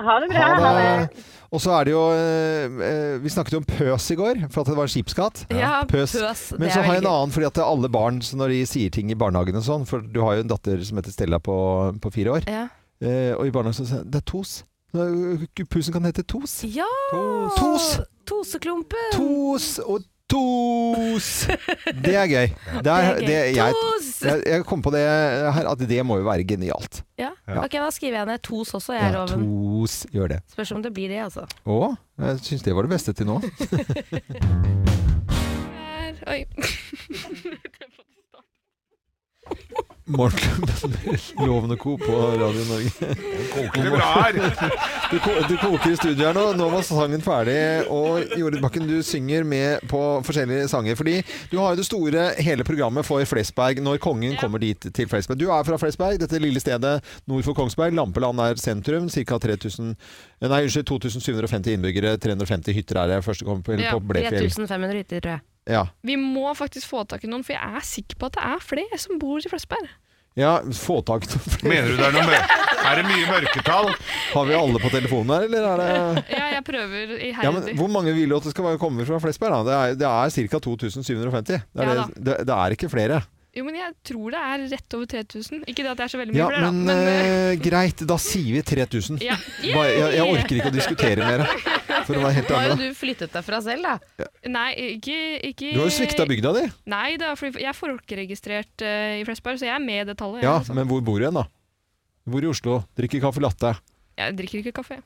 Ha det bra. Ha Ha det. det. Og så er det jo eh, eh, Vi snakket jo om pøs i går, for at det var en skipskatt. Ja, Pøs. pøs, det Men er så har jeg en veldig gøy. annen, fordi at det er alle barn så når de sier ting i barnehagen og sånn For du har jo en datter som heter Stella på, på fire år. Ja. Eh, og i barnehagen så sier jeg det er Tos. Nå- Pusen kan hete Tos. ja. Tos. Toseklumpen. Tos og Tos! Det er gøy. Det er, Det er gøy. det, jeg, Tos! jeg, jeg kom på det her, at det må jo være genialt. Ja. Ok, da skriver jeg ned tos også, jeg, Ja, Loven. tos gjør det. Spørs om det blir det, altså. Å, jeg syns det var det beste til nå. Oi. Morgenklubben med Lovende Co. på Radio Norge. Koker det bra her? Du, ko du koker i studio her nå. Nå var sangen ferdig. Og Jorid Bakken, du synger med på forskjellige sanger. Fordi du har jo det store hele programmet for Flesberg når kongen kommer dit til Flesberg. Du er fra Flesberg, dette lille stedet nord for Kongsberg. Lampeland er sentrum. Ca. 3000 Nei, unnskyld, 2750 innbyggere. 350 hytter er det første kommer på, Ja, på Blefjell. 3500 hytter, tror jeg. Ja. Vi må faktisk få tak i noen, for jeg er sikker på at det er flere som bor i Flesberg. ja, få tak i noen flere. Mener du det er noe mør Er det mye mørketall? Har vi alle på telefonen her, eller er det Ja, jeg prøver Ja, men iherdig. Hvor mange vil du at det skal være- komme fra Flesberg? da? Det er, det er ca. 2750. Det er, Ja, det, det, det er ikke flere. Jo, men jeg tror det er rett over 3000. Ikke det at det er så veldig mye Ja, flere, men, da. Men, eh, greit, da sier vi 3000. eh, ja. Bare, jeg, jeg orker ikke å diskutere mer, for å være helt Har ærlig. jo da. du flyttet deg fra selv, da. Nei, ikke, ikke Du har jo svikta bygda di. Nei, da, for jeg er folkeregistrert eh, i Flesberg, så jeg er med i det tallet. Ja, jeg, altså. men hvor bor du igjen, da? Du bor i Oslo, drikker kaffe latte. Jeg drikker ikke kaffe.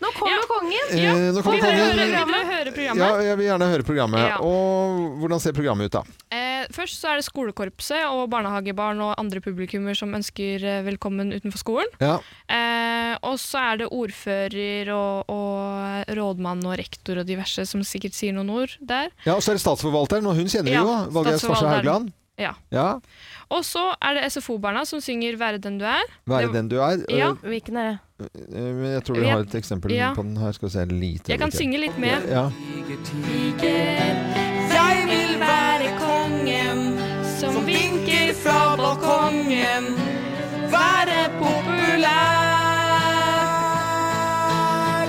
Nå kommer Ja. kongen! Eh, nå Vil kommer dere høre, kongen. vil dere høre programmet? Ja, jeg vil gjerne høre programmet. Ja. Og hvordan ser programmet ut, da? Eh, først så er det skolekorpset og barnehagebarn og andre publikummer som ønsker eh, velkommen utenfor skolen. Ja, Eh, og så er det ordfører og, og rådmann og rektor og diverse som sikkert sier noen ord der. ja Og så er det statsforvalteren, og hun kjenner vi Ja, jo. Valgeir Svarstad Haugland. statsforvalteren. Ja. Ja, Og så er det SFO-barna som synger 'Være den du er'. Være Det- den du er. Ja, Hvilken er det? Eh, men Jeg tror vi Jeg- har et eksempel Ja. på den her. Skal vi se lite Jeg kan øyeblikk. synge litt med. Ja. Jeg vil være kongen som vinker fra balkongen. Være populær.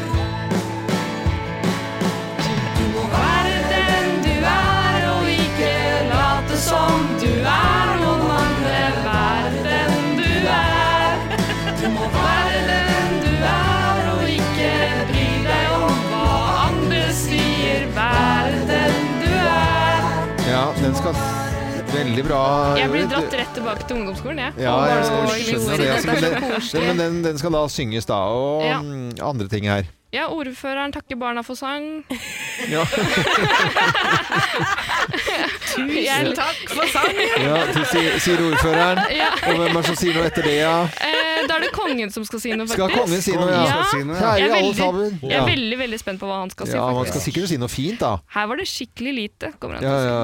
Du må være den du er, og ikke late som du er noen andre. Være den du er. Du må være den du er, og ikke bry deg om hva andre sier. Være den du er. ja, den skal Veldig bra. Jeg blir Jorid. dratt rett tilbake til ungdomsskolen, jeg. Ja, Og jeg barneskolen, skjønner ikke det. minst. Altså, men den, den, men den, den skal da synges, da. Og Ja. mm, andre ting her. Ja, ordføreren takker barna for sang. Ja, Tusen takk for sang! ja til, si- sier ordføreren. Ja. Og hvem er det som sier noe etter det, ja? Eh, da er det kongen som skal si noe, Skal faktisk. kongen si noe, ja? Ja. Si noe, ja. Kjære Jeg er alle veldig- sammen. Jeg Ja. er veldig veldig spent på hva han skal si. ja, man faktisk. skal sikkert si noe fint, da. Her var det skikkelig lite. kommer han Ja, til å si. ja,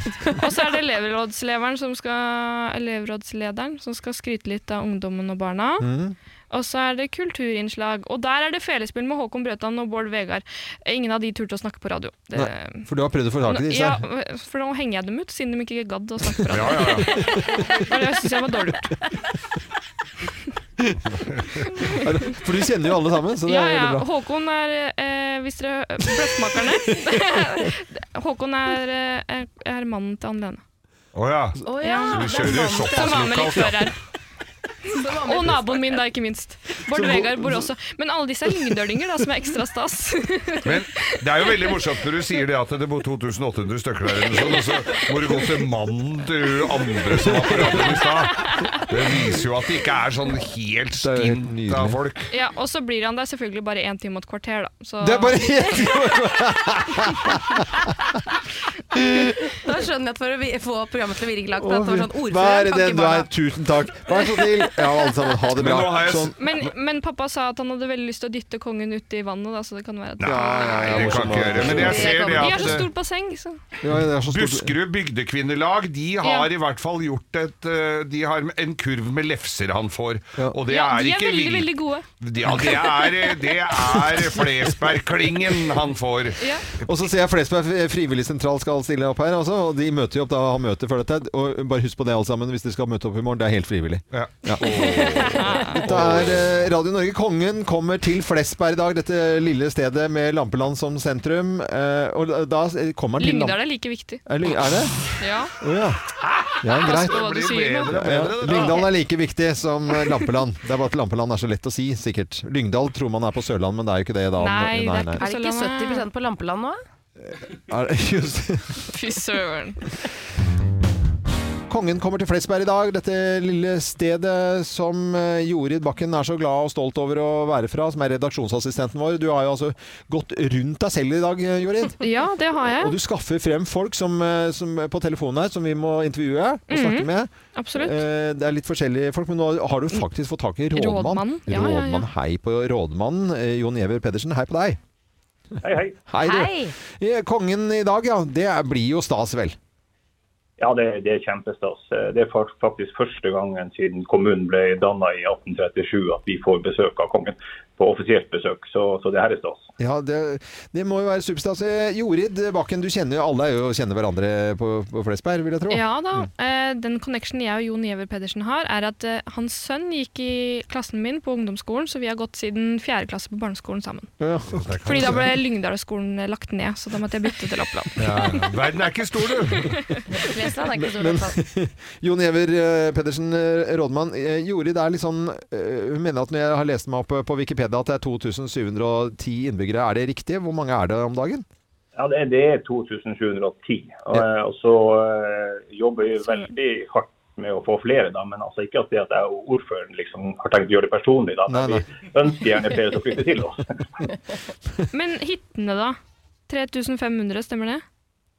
ja. Og så er det elevrådslederen som skal, elevrådslederen som skal skryte litt av ungdommen og barna. Mm. Og så er det kulturinnslag. Og der er det felespill med Håkon Brøtan og Bård Vegar. Ingen av de turte å snakke på radio. Det- Nei, for du har prøvd å få tak i disse? ja, her. for nå henger jeg dem ut, siden de ikke gadd å snakke på radio. Ja, ja, ja. Og Det syns jeg var dårlig gjort. Er det- For du kjenner jo alle sammen, så det Ja, er ja. veldig bra. Håkon er eh, Hvis dere Bløffmakerne. Håkon er, eh, er mannen til Anne Lene. Å ja. Å Så ja. du kjører Som såpass var med litt lokalt, ja. før her. Og naboen min, da, ikke minst. Bård Vegar bor også. Men alle disse er lyngdølinger, da, som er ekstra stas. Men det er jo veldig morsomt når du sier det at det bor 2800 stykker der, eller sånn, og så må du gå til mannen til andre som var på radioen i stad. Det viser jo at det ikke er sånn helt er jo helt stint av nydelig. folk. Ja, Og så blir han der selvfølgelig bare én time og et kvarter, da. Så Det er bare helt Da sånn. skjønner jeg at for å vi- få programmet til å virke langt, at det var sånn ordfører, Vær kan ikke den du bare- er. Tusen takk. Vær så snill. Ja, alle sammen. Ha det Men bra. nå har jeg s- Sånn. men, men pappa sa at han hadde veldig lyst til å dytte kongen uti vannet, da, så det kan være at Nei, ja, det kan morsomt. ikke gjøre. Men jeg ser det De har at så eh, stort basseng, så Ja, det er så stort. Buskerud bygdekvinnelag de har Ja. i hvert fall gjort et eh, De har en kurv med lefser han får. Ja. Og det ja, er De er ikke veldig, vil- veldig gode. Ja, det er, eh, det er Flesbergklingen han får. Ja. Og så ser jeg Flesberg frivillig sentral skal stille opp her, altså. Og de møter jo opp da han møter for dette. Og bare husk på det, alle sammen, hvis dere skal møte opp i morgen. Det er helt frivillig. Ja. Dette er eh, Radio Norge. Kongen kommer til Flesberg i dag, dette lille stedet med Lampeland som sentrum. Eh, og da kommer han til Lam- Lyngdal er like viktig. Er Lyng- Er det? Ja. Å ja. Ja, greit. Hva du Det sier blir nå. bedre og Ja, bedre. det da. Lyngdal er like viktig som Lampeland. Det er bare at Lampeland er så lett å si, sikkert. Lyngdal tror man er på Sørland, men det er jo ikke det da. Nei, det er ikke- Er det ikke 70 på Lampeland nå? Er, just, Fy søren. Kongen kommer til Flesberg i dag, dette lille stedet som eh, Jorid Bakken er så glad og stolt over å være fra, som er redaksjonsassistenten vår. Du har jo altså gått rundt deg selv i dag, eh, Jorid. Ja, det har Og jeg. du skaffer frem folk som, eh, som er på telefonen her, som vi må intervjue og snakke med. Mhm, Absolutt. Eh, Det er litt forskjellige folk, men nå har du faktisk fått tak i rådmann. Rådmannen, ja, ja, ja. Rådmann, Hei på rådmannen. Eh, Jon Giæver Pedersen, hei på deg. Hei, hei. Hei, du. Eh, Kongen i dag, ja. Det er- blir jo stas, vel? Ja, det, det er kjempestas. Det er fak- faktisk første gangen siden kommunen ble danna i 1837 at vi får besøk av kongen på offisielt besøk. Så, så det her er stas. Ja, det, det må jo være superstas. Eh, Jorid Bakken, du kjenner jo alle er jo kjenner hverandre på, på Flesberg, vil jeg tro. Ja da. Eh, den connectionen jeg og Jon Giæver Pedersen har, er at eh, hans sønn gikk i klassen min på ungdomsskolen, så vi har gått siden fjerde klasse på barneskolen sammen. Ja. Fordi da ble Lyngdalsskolen eh, lagt ned, så da måtte jeg bytte til Oppland. Ja. Verden er ikke stor, du. Flesland er ikke så stort. Jon Giæver eh, Pedersen, eh, rådmann. Eh, Jorid er litt sånn eh, Hun mener at når jeg har lest meg opp eh, på Wikipedia at det er 2710 innbyggere. Er det riktig? Hvor mange er det om dagen? Ja, det, det er 2710. Og, eh, og så eh, jobber vi veldig hardt med å få flere, da, men altså ikke at det at jeg og ordføreren liksom har tenkt å gjøre det personlig. da, men Nei, nei. Vi ønsker gjerne flere som flytter til oss. Men hyttene, da? 3500, stemmer det?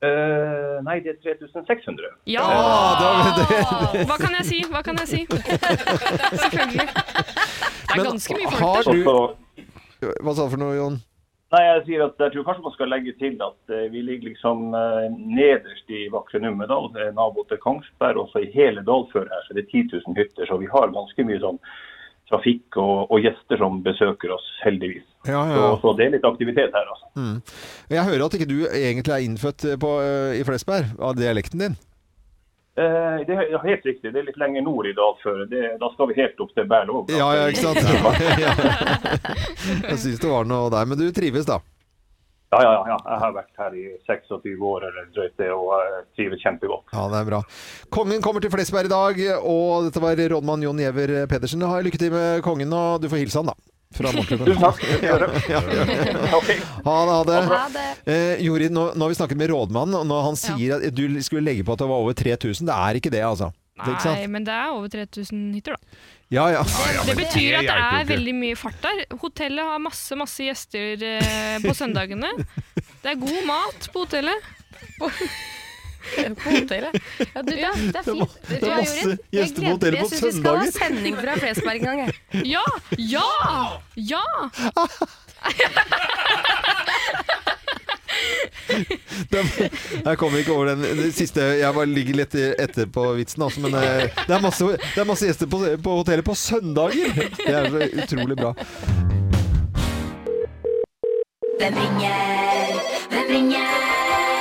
Eh, nei, det er 3600. Ja! Ah, da- det- Hva kan jeg si? Hva kan jeg si? Selvfølgelig. Det er Men ganske mye folk har der. Og du, så, Hva sa du for noe, Jon? nei, jeg sier at jeg tror kanskje man skal legge til at eh, vi ligger liksom eh, nederst i vakre Numedal, det er nabo til Kongsberg, og så i hele dalføret her så det er 10 000 hytter, så vi har ganske mye sånn trafikk og, og gjester som besøker oss, heldigvis. Ja, Så, så det er litt aktivitet her, altså. Jeg hører at ikke du egentlig er innfødt eh, på, eh, i Flesberg av dialekten din. Eh, det er helt riktig. Det er litt lenger nord i dalføret. Det- Da skal vi helt opp til Berlevåg. da. Ja, ja, ikke sant? Ja. Jeg syns det var noe der, men du trives da? Ja, ja, ja. Jeg har vært her i 26 år eller drøyt det, og jeg trives kjempegodt. Ja, det er bra. Kongen kommer til Flesberg i dag, og dette var rådmann Jon Giæver Pedersen. Ha lykke til med kongen, og du får hilse han, da. Fra morgenklubben. Tusen takk. Ja, Ok. Ha det, ha det. Ha det. Eh, Jorid, nå, nå har vi snakket med rådmannen, og når han sier at du skulle legge på at det var over 3000, det er ikke det, altså. Det er ikke Nei, sant? men det er over 3000 hytter, da. Ja, ja. Det betyr at det hjelper jo er ikke. veldig mye fart der. Hotellet har masse masse gjester eh, på søndagene. Det er god mat på hotellet. På hotellet. Ja, du, det, er- Det det er er fint. ma- det er Du, jeg masse gjorde- jeg gjester på gleder- hotellet på Jeg syns vi skal ha søndager. sending fra Flesberg en gang, jeg. Ja! Ja! Ja! Den, jeg kom ikke over den, den siste Jeg bare ligger litt etter på vitsen, altså, men eh, det er masse, det er masse gjester på, på hotellet på søndager! Det er så utrolig bra. Hvem ringer? Hvem ringer?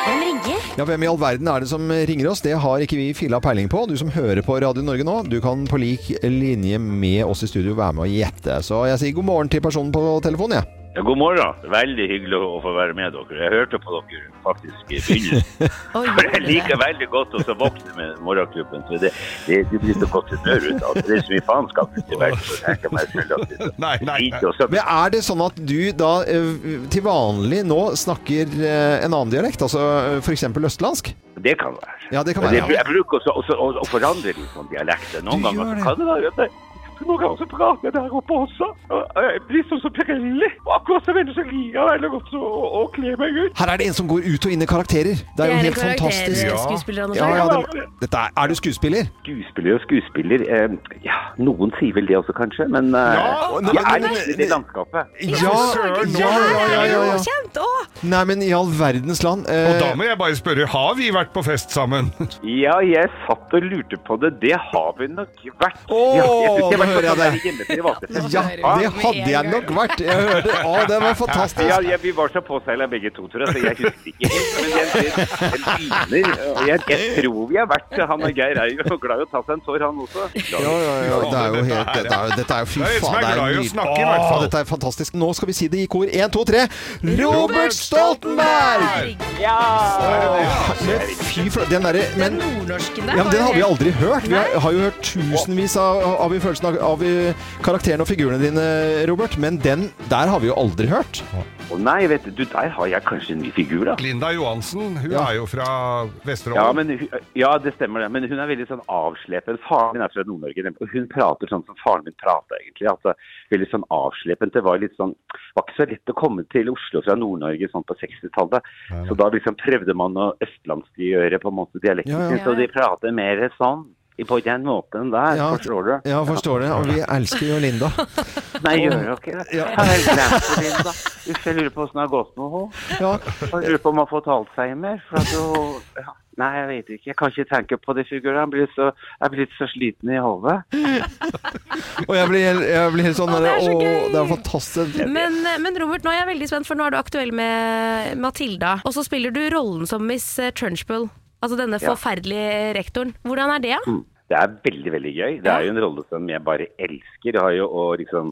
Hvem ringer? Ja, Hvem i all verden er det som ringer oss? Det har ikke vi filla peiling på. Du som hører på Radio Norge nå, du kan på lik linje med oss i studio være med og gjette. Så jeg sier god morgen til personen på telefonen, jeg. Ja, god morgen. Veldig hyggelig å få være med dere. Jeg hørte på dere faktisk i begynnelsen. For jeg liker veldig godt å så våkne med morgenklubben. Så det, det, det blir så godt humør ut av det. Det er så mye faenskap ute i verden. så jeg tenker meg selv at det- Lite og så- Men er det sånn at du da eh, til vanlig nå snakker eh, en annen dialekt, altså f.eks. østlandsk? Det kan være. Ja, det kan Men være. jeg, ja. jeg bruker også, også, å- å forandre litt sånn dialekter. Noen Du ganger gjør så det. kan det være at jeg noen ganger så prater jeg der oppe også. Og Jeg blir sånn som Pirelli. Og akkurat som en som liker veldig godt å, å, å kle meg ut. Her er det en som går ut og inn i karakterer. Det er jo helt fantastisk. Ja, ja, det, dette er, er du skuespiller? Skuespiller og skuespiller eh, Ja, noen sier vel det også, kanskje. Men eh, Ja, nei, jeg men- er litt i det landskapet. Ja, ja, ja, ja, ja, ja. Nei, men i all verdens land eh, Og da må jeg bare spørre, har vi vært på fest sammen? Ja, jeg satt og lurte på det. Det har vi nok vært. ja, synes nå hører jeg sånn det. hjemme private. Ja, det hadde jeg nok vært. Jeg hørte Å, det var Ja, fantastisk. ja, vi var så påseila begge to, tror jeg, så jeg husker ikke helt. Men jeg, jeg, jeg, begynner, og jeg, jeg tror vi har vært Han og Geir er jo glad i å ta seg en tår, han også. Ja, ja, ja. Det er jo helt Dette er jo, dette er jo fy Det er en som faen, er det er glad i å nydelig. snakke, i hvert Å, fall. Dette er fantastisk. Nå skal vi si det i kor. Én, to, tre. Robert Stoltenberg! Men fy flate. Den derre men, Nordnorsken der ja, men Den har vi helt- aldri hørt. Vi har, har jo hørt tusenvis av, av, i følelsen av, av i karakterene og figurene dine, Robert, men den der har vi jo aldri hørt. Å nei, vet du, der har jeg kanskje en ny figur, da. Linda Johansen, hun Ja. er jo fra Vesterålen. Ja, men, hu- ja, det stemmer det. Men hun er veldig sånn avslepen. Faren min er fra Nord-Norge, nemlig. og hun prater sånn som faren min prater, egentlig. Altså, veldig sånn avslepen. Det var litt sånn var ikke så lett å komme til Oslo fra Nord-Norge sånn på 60-tallet. Så da liksom prøvde man å østlandsgjøre på en måte dialekten Ja, ja. sin, så de prater mer sånn. i- På den måten der, Ja, forstår du? Ja, forstår det. Og vi elsker jo Linda. Nei, gjør dere ikke det? Ja. Jeg har helt glemt det, Linda. Uff, jeg lurer på åssen det har gått med henne. Ja. Jeg lurer på om hun har fått Alzheimer. For at hun, ja. Nei, jeg vet ikke. Jeg kan ikke tenke på det. Sigurd. Jeg blir så, jeg blir så sliten i hodet. Og jeg blir, helt- jeg blir helt sånn Å, det er derre, så Å, gøy!» det er fantastisk. Men, eh, men Robert, nå er jeg veldig spent, for nå er du aktuell med Matilda. Og så spiller du rollen som Miss eh, Trunchbull. Altså denne Ja. forferdelige rektoren. Hvordan er det? Mm. Det er veldig, veldig gøy. Det er jo en rolle som jeg bare elsker. Jeg har jo og liksom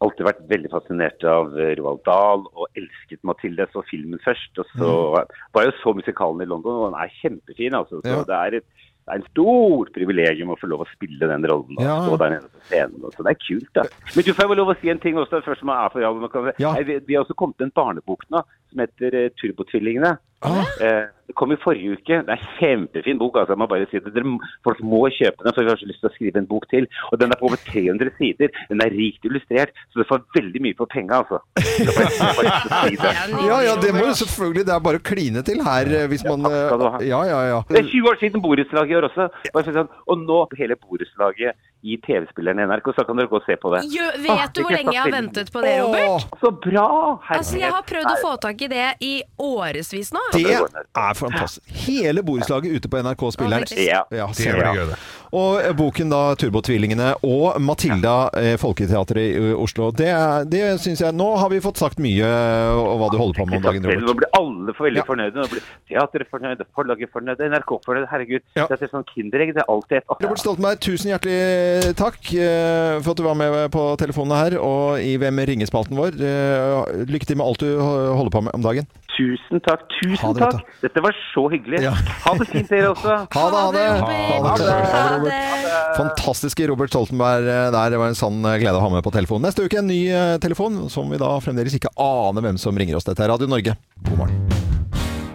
alltid vært veldig fascinert av eh, Roald Dahl og elsket Mathilde. Så filmen først, og så var jeg jo så musikalen i London, og den er kjempefin. altså. Så Mm. Ja. det er et det er en stort privilegium å få lov å spille den rollen. Og Ja. stå der nede på scenen. og Så det er kult, da. Men du får vel lov å si en ting også. først som er for alvor, man kan si. Ja. Nei, Eh, Vi, vi har også kommet til en barnebok nå som heter eh, 'Turbotvillingene'. Ah. Eh, Det kom i forrige uke. Det er en kjempefin bok. altså jeg må bare si det. Dere, m- Folk må kjøpe den, for vi har så lyst til å skrive en bok til. Og Den er på over 300 sider. Den er rikt illustrert, så du får veldig mye for penga. Altså. Så bare- bare lyst til å si det. Ja, ja, det må jo selvfølgelig Det er bare å kline til her eh, hvis man takk skal du ha. eh, Ja, ja, ja. Det er 20 år siden borettslaget gjør også. Bare sånn, og nå hele borettslaget i TV-spilleren NRK, så kan dere gå og se på det. Gjø, Ah, vet du hvor ikke lenge jeg har sant. ventet på det, Robert? Så bra! Herregud. Altså, Jeg har prøvd å få tak i det i årevis nå. Åh, det er fantastisk. Hele borettslaget ute på NRK-spilleren. Å, Ja. Ja, Det ser blir du. gøy, det. Og eh, boken da 'Turbotvillingene' og 'Matilda' eh, Folketeatret i eh, Oslo. Det, er- det syns jeg Nå har vi fått sagt mye eh, om hva du holder på med om dagen, Nå Robert. blir alle for veldig Ja. fornøyde. Nå blir teatret fornøyde, forlaget fornøyde, NRK fornøyde. Herregud. Ja. Det er sånn kinderegg. Det er alltid et Robert Stoltenberg, tusen hjertelig takk eh, for at du var med på telefonen her og i Hvem ringer-spalten vår. Eh, Lykke til med alt du ho- holder på med om dagen. Tusen takk. Ha Tusen det godt, takk. Dette var så hyggelig. Ja. Ha det fint, dere også. Ha det, ha det! Ha det, ha det, Robert. det. Fantastiske Robert Stoltenberg eh, der. Det var en sann eh, glede å ha med på telefonen. Neste uke en ny eh, telefon, som vi da fremdeles ikke aner hvem som ringer oss. Dette er Radio Norge. God morgen.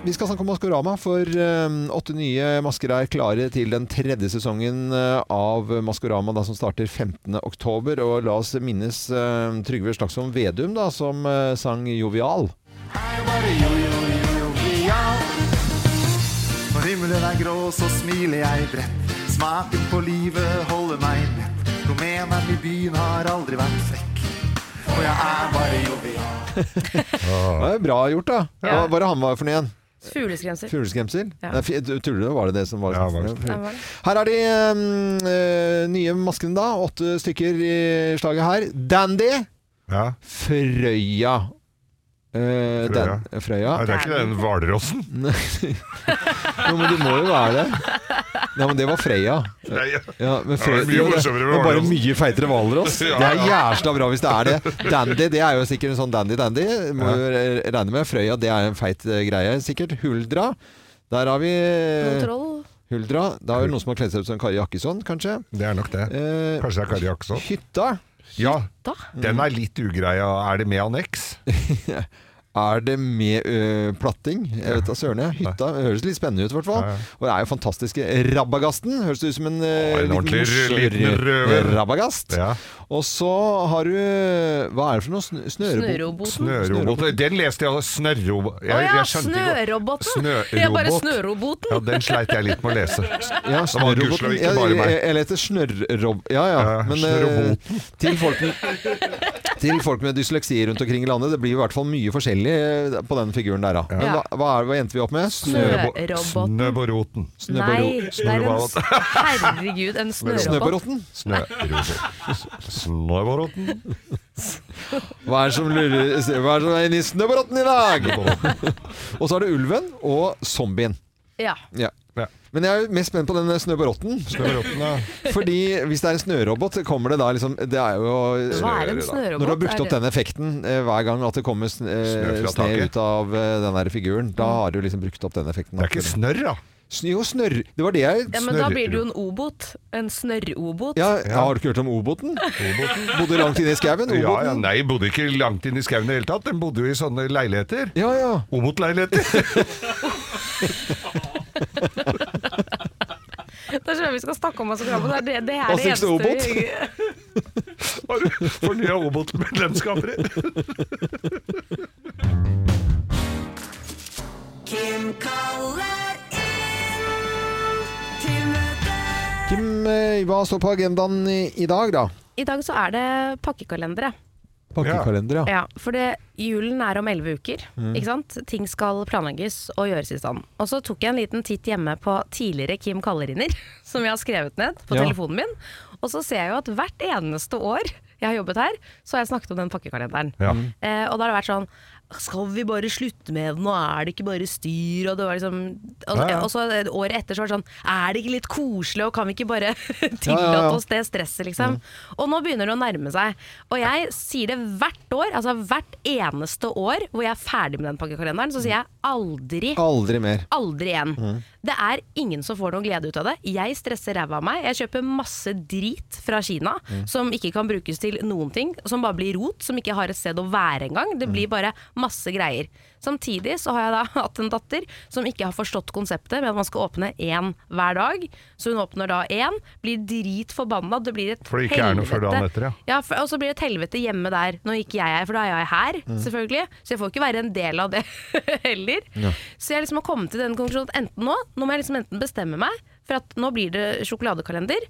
Vi skal snakke om Maskorama, for eh, åtte nye masker er klare til den tredje sesongen eh, av Maskorama, da, som starter 15. oktober. Og la oss minnes eh, Trygve Slagsvold Vedum, da, som eh, sang 'Jovial'. Når himmelen er grå, så smiler jeg bredt. Smaken på livet holder meg mett. Rumeneren i byen har aldri vært frekk. Og jeg er bare jovial. Det er bra gjort, da. Hva var det han var for noe igjen? Fugleskremsel. Fugleskremsel? Ja. Nei, fi- Tuller du? Var det det som var Ja, var det. Her er de mm, eh, nye maskene, da. Åtte stykker i slaget her. Dandy. Frøya. Eh, Frøya. Dan- Frøya. Nei, det er ikke den hvalrossen? Jo, men det må jo være det. Nei, men det var Freya. Nei, ja. Ja, men Det Frøya, var mye jo, det, morsommere med men bare hvalross. mye feitere hvalross. Ja, Det er ja. jævla bra hvis det er det. Dandy det er jo sikkert en sånn dandy-dandy. Må jo re- regne med. Frøya det er en feit eh, greie, sikkert. Huldra. Der har vi eh, Noen troll. Huldra. Da er det noen som har kledd seg ut som Kari Jakkesson, kanskje. Eh, Det er nok det. Kanskje det er Kari Jakkesson. Hytta? Ja. Den er litt ugreia. Er det med anneks? Er det med ø, platting? Jeg vet da søren. jeg. Hytta høres litt spennende ut, i hvert fall. Og det er jo fantastiske Rabagasten. Høres ut som en, eh, ø, en ordentlig morsom liten røver. Rabagast. Og så har du Hva er det for noe? Sn- Snørobot? Snørobot. Den leste jeg. Snørrobot. Å ja, snøroboten! Det er bare snøroboten. Ja, den sleit jeg litt med å lese. Ja, Det var snørroboten. Gudskjelov Ja, ikke bare jeg, meg. jeg leter snørrob... Ja, ja. Men eh, snørroboten. til, folk med, til folk med dysleksi rundt omkring i landet, det blir i hvert fall mye forskjellig eh, på den figuren der, da. Men Ja. hva, hva, er, hva endte vi opp med? Snøroboten. Snøboroten. Nei, det er en s- Herregud, en snørobot. Snøboroten. Hva er det som lurer Hva er det som er inne i snøborotten i dag? og så er det ulven og zombien. Ja. Ja. Men jeg er jo mest spent på den snøborotten. Snøborotten, ja. Fordi hvis det er en snørobot, så kommer det da liksom Det er jo Hva er en snørobot? Når du har brukt Er opp det- den effekten eh, hver gang at det kommer sn eh, Snø fra sne taket. ut av eh, den der figuren, Mm. da har du liksom brukt opp den effekten. Det er ikke snørr, da. Sn jo, snørr Det var det jeg Ja, men da blir det jo en obot. En snørrobot. ja, Har du ikke hørt om Oboten? Bodde langt inne i skauen? Ja, ja, Oboten? nei, bodde ikke langt inn i skauen i det hele tatt. Den bodde jo i sånne leiligheter. Ja, ja. Omot-leiligheter. Da skjønner jeg sånn vi skal snakke om oss og krabbe. Det er det, det, er Og det seks eneste obot. vi- Har du fornya Omot-medlemskaper? Kim kaller inn til møte. Kim, eh, hva står på agendaen i, i dag, da? I dag så er det pakkekalendere. Pakkekalender, ja. Ja, for det, julen er om elleve uker. Mm. Ikke sant? Ting skal planlegges og gjøres i stand. Og så tok jeg en liten titt hjemme på tidligere Kim Kallerinner, som jeg har skrevet ned på Ja. telefonen min. Og så ser jeg jo at hvert eneste år jeg har jobbet her, så har jeg snakket om den pakkekalenderen. Ja. Eh, og da har det vært sånn skal vi bare slutte med den, og er det ikke bare styr? Og, det var liksom, og, Ja, ja. og så året etter så var det sånn Er det ikke litt koselig, og kan vi ikke bare Ja, tillate ja, ja. oss det stresset, liksom. Og nå begynner det å nærme seg. Og jeg sier det hvert år, altså hvert eneste år hvor jeg er ferdig med den pakkekalenderen, så sier jeg aldri. Aldri mer. Aldri igjen. Mm. Det er ingen som får noen glede ut av det. Jeg stresser ræva av meg. Jeg kjøper masse drit fra Kina Mm. som ikke kan brukes til noen ting. Som bare blir rot, som ikke har et sted å være engang. Det blir bare masse greier. Samtidig så har jeg da hatt en datter som ikke har forstått konseptet med at man skal åpne én hver dag. Så hun åpner da én, blir dritforbanna. Det blir et For det ikke er noe før dagen helvete. etter, ja. Ja, for, og så blir det et helvete hjemme der. Nå ikke jeg her, for da er jeg her, Mm. selvfølgelig. Så jeg får ikke være en del av det heller. Ja. Så jeg liksom har kommet til den konklusjonen at enten nå, nå må jeg liksom enten bestemme meg for at nå blir det sjokoladekalender,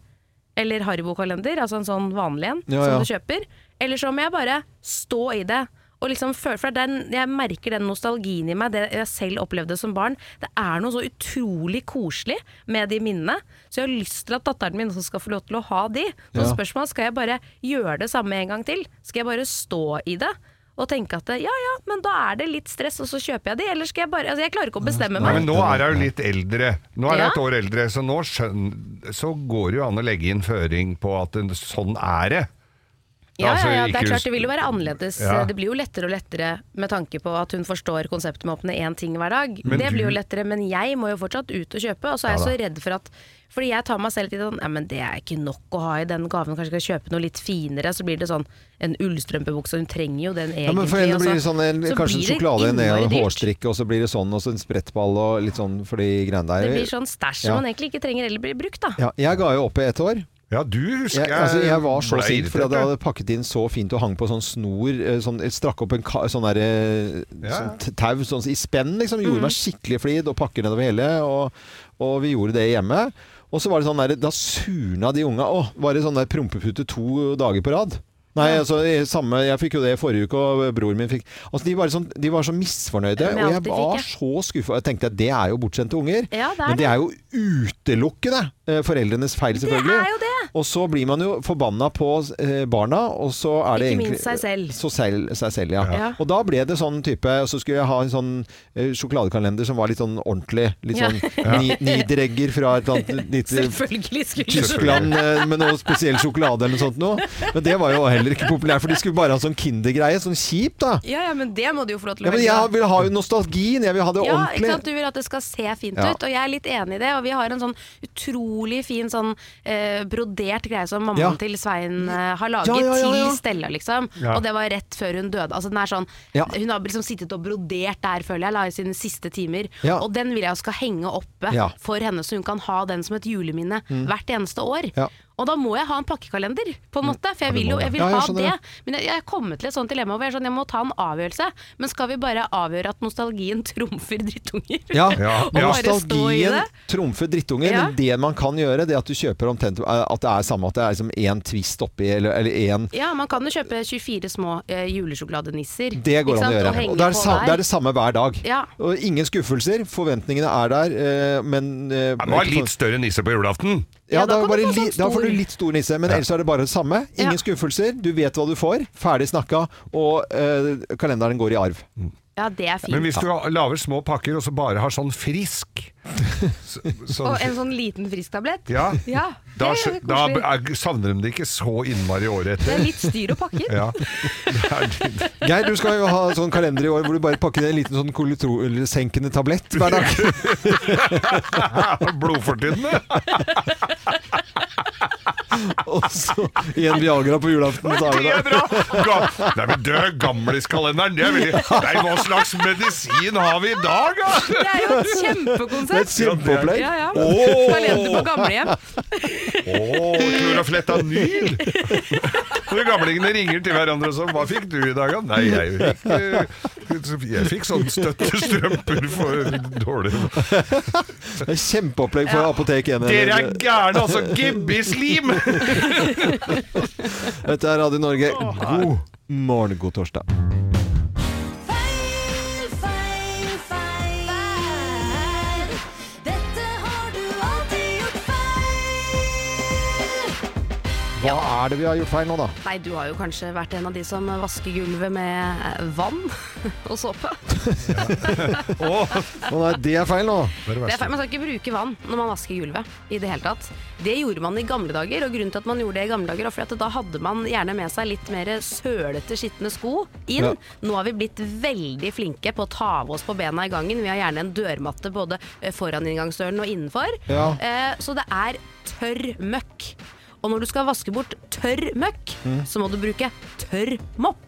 eller Haribo-kalender, altså en sånn vanlig en Ja, som ja. du kjøper. Eller så må jeg bare stå i det. Og liksom føle, for det er den, Jeg merker den nostalgien i meg, det jeg selv opplevde som barn. Det er noe så utrolig koselig med de minnene. Så jeg har lyst til at datteren min også skal få lov til å ha de. Så Ja. spørsmålet skal jeg bare gjøre det samme en gang til. Skal jeg bare stå i det og tenke at ja ja, men da er det litt stress, og så kjøper jeg de. Eller skal jeg bare altså Jeg klarer ikke å bestemme Nei, meg. men nå er jeg jo litt eldre. Nå er Ja. jeg et år eldre, så nå skjøn, så går det jo an å legge inn føring på at en, sånn er det. Ja, Altså, ja, ja, det ikke er just- klart det vil jo være annerledes. Ja. Det blir jo lettere og lettere med tanke på at hun forstår konseptet med å åpne én ting hver dag. Men det du- blir jo lettere, men jeg må jo fortsatt ut og kjøpe. Og så er Ja jeg så da. redd for at Fordi jeg tar meg selv til sånn Ja, men det er ikke nok å ha i den gaven, kanskje jeg skal kjøpe noe litt finere. Så blir det sånn en ullstrømpebukse, hun trenger jo den egentlig. Ja, men for henne og blir det så- sånn en, så kanskje en blir det sjokolade, en, en innmari dyrt. hårstrikk, og så blir det sånn, og så en sprettball og litt sånn for de greiene der. Det blir sånn stæsj som Ja. man egentlig ikke trenger eller blir brukt, da. Ja, jeg ga jo opp i ett år. Ja, du husker jeg, altså, jeg var så ble sint fordi irritert, jeg ja. hadde pakket inn så fint og hang på sånn snor eh, sånn, jeg Strakk opp en ka, sånn der, eh, sånn t- tau sånn, i spenn, liksom. Mm. Gjorde meg skikkelig flid og pakker nedover hele. Og, og vi gjorde det hjemme. Og så var det sånn der, da surna de unga. Å, var det sånn der prompepute to dager på rad? Nei, altså, i samme, jeg fikk jo det i forrige uke, og bror min fikk altså, de, var sånn, de var så misfornøyde, Med og alt jeg de fikk, var ja. så skuffa. Jeg tenkte at det er jo bortskjemte unger. Ja, det er men det det. er jo utelukkende eh, foreldrenes feil, selvfølgelig. er jo det. Og så blir man jo forbanna på eh, barna, og så er det Ikke egentlig eh, minst seg selv. Så selv, seg selv ja. Ja. Og da ble det sånn type Og så skulle jeg ha en sånn eh, sjokoladekalender som var litt sånn ordentlig. Litt Ja. sånn Ja. ni, nidregger fra et eller annet lite Selvfølgelig skulle du Tyskland eh, med noe spesiell sjokolade eller noe sånt noe. Men det var jo heller ikke populært, for de skulle bare ha sånn Kindergreie. Sånn kjip, da. Ja, ja, men det må du jo få lov til Ja, å men velge. jeg vil ha jo nostalgien. Jeg vil ha det ja, ikke sant? ordentlig. Du vil at det skal se fint Ja. ut, og jeg er litt enig i det. Og vi har en sånn utrolig fin sånn eh, brodert greie som mammaen Ja. til Svein eh, har laget Ja, ja, ja, ja. til Stella, liksom. Ja. Og det var rett før hun døde. Altså, den er sånn, Ja. Hun har liksom sittet og brodert der, føler jeg, la i sine siste timer. Ja. Og den vil jeg jo skal henge oppe Ja. for henne, så hun kan ha den som et juleminne Mm. hvert eneste år. Ja. Mm. Og da må jeg ha en pakkekalender, på en måte. For jeg Ja, du vil må jo det. jeg vil Ja, jeg ha skjønner det. det. Men jeg, jeg er kommet til et sånt dilemma hvor jeg, er sånn, jeg må ta en avgjørelse. Men skal vi bare avgjøre at nostalgien trumfer drittunger? Ja, og og bare stå i Nostalgien det? trumfer drittunger, Ja. men det man kan gjøre, det er at du kjøper omtrent eh, At det er samme, at det er liksom én twist oppi, eller, eller én Ja, man kan jo kjøpe 24 små eh, julesjokoladenisser. Det går an ikke å sant? gjøre. henge Og det er, på sa, det der. er det samme hver dag. Ja. Og ingen skuffelser. Forventningene er der, eh, men eh, Han var ikke litt større nisse på julaften. Ja, da, kan du bare få li, sånn da stor. får du litt stor nisse, men Ja. ellers er det bare det samme. Ingen skuffelser, du vet hva du får, ferdig snakka, og eh, kalenderen går i arv. Ja, det er fint. Men hvis du lager små pakker og så bare har sånn frisk så, sånn- Og en sånn liten frisktablett. Ja. ja da, det er skjø- jo da koselig. er, savner de det ikke så innmari året etter. Det er litt styr og pakker. Ja. Det er litt- Geir, du skal jo ha sånn kalender i år hvor du bare pakker ned en liten sånn kolesterolsenkende tablett hver dag. Blodfortynnende! og så en Viagra på julaften. Så er Det er det bra! Ga- Nei, men død gamliskalenderen, det er veldig Nei, hva slags medisin har vi i dag, da? Det er jo et kjempekonsept. Det er et kjempeopplegg. Ja, ja. Åh! Kalender på gamlehjem. Åh, klorafletanyl! Når gamlingene ringer til hverandre og sånn 'Hva fikk du i dag, da?' Nei, jeg fikk, eh, jeg fikk sånn støttestrømper for dårlig Det er kjempeopplegg for Ja. Apotek 1. Dere er gærne, altså! Gibbislim! Dette er Radio Norge. God morgen, god torsdag. Hva er det vi har gjort feil nå, da? Nei, du har jo kanskje vært en av de som vasker gulvet med eh, vann og såpe. Å nei, det er feil nå. Det er feil. Man skal ikke bruke vann når man vasker gulvet i det hele tatt. Det gjorde man i gamle dager, og grunnen til at man gjorde det i gamle dager, var fordi at da hadde man gjerne med seg litt mer sølete, skitne sko inn. Ja. Nå har vi blitt veldig flinke på å ta av oss på bena i gangen. Vi har gjerne en dørmatte både eh, foran inngangsdøren og innenfor. Ja. Eh, Så det er tørr møkk. Og når du skal vaske bort tørr møkk, Mm. så må du bruke tørr mopp.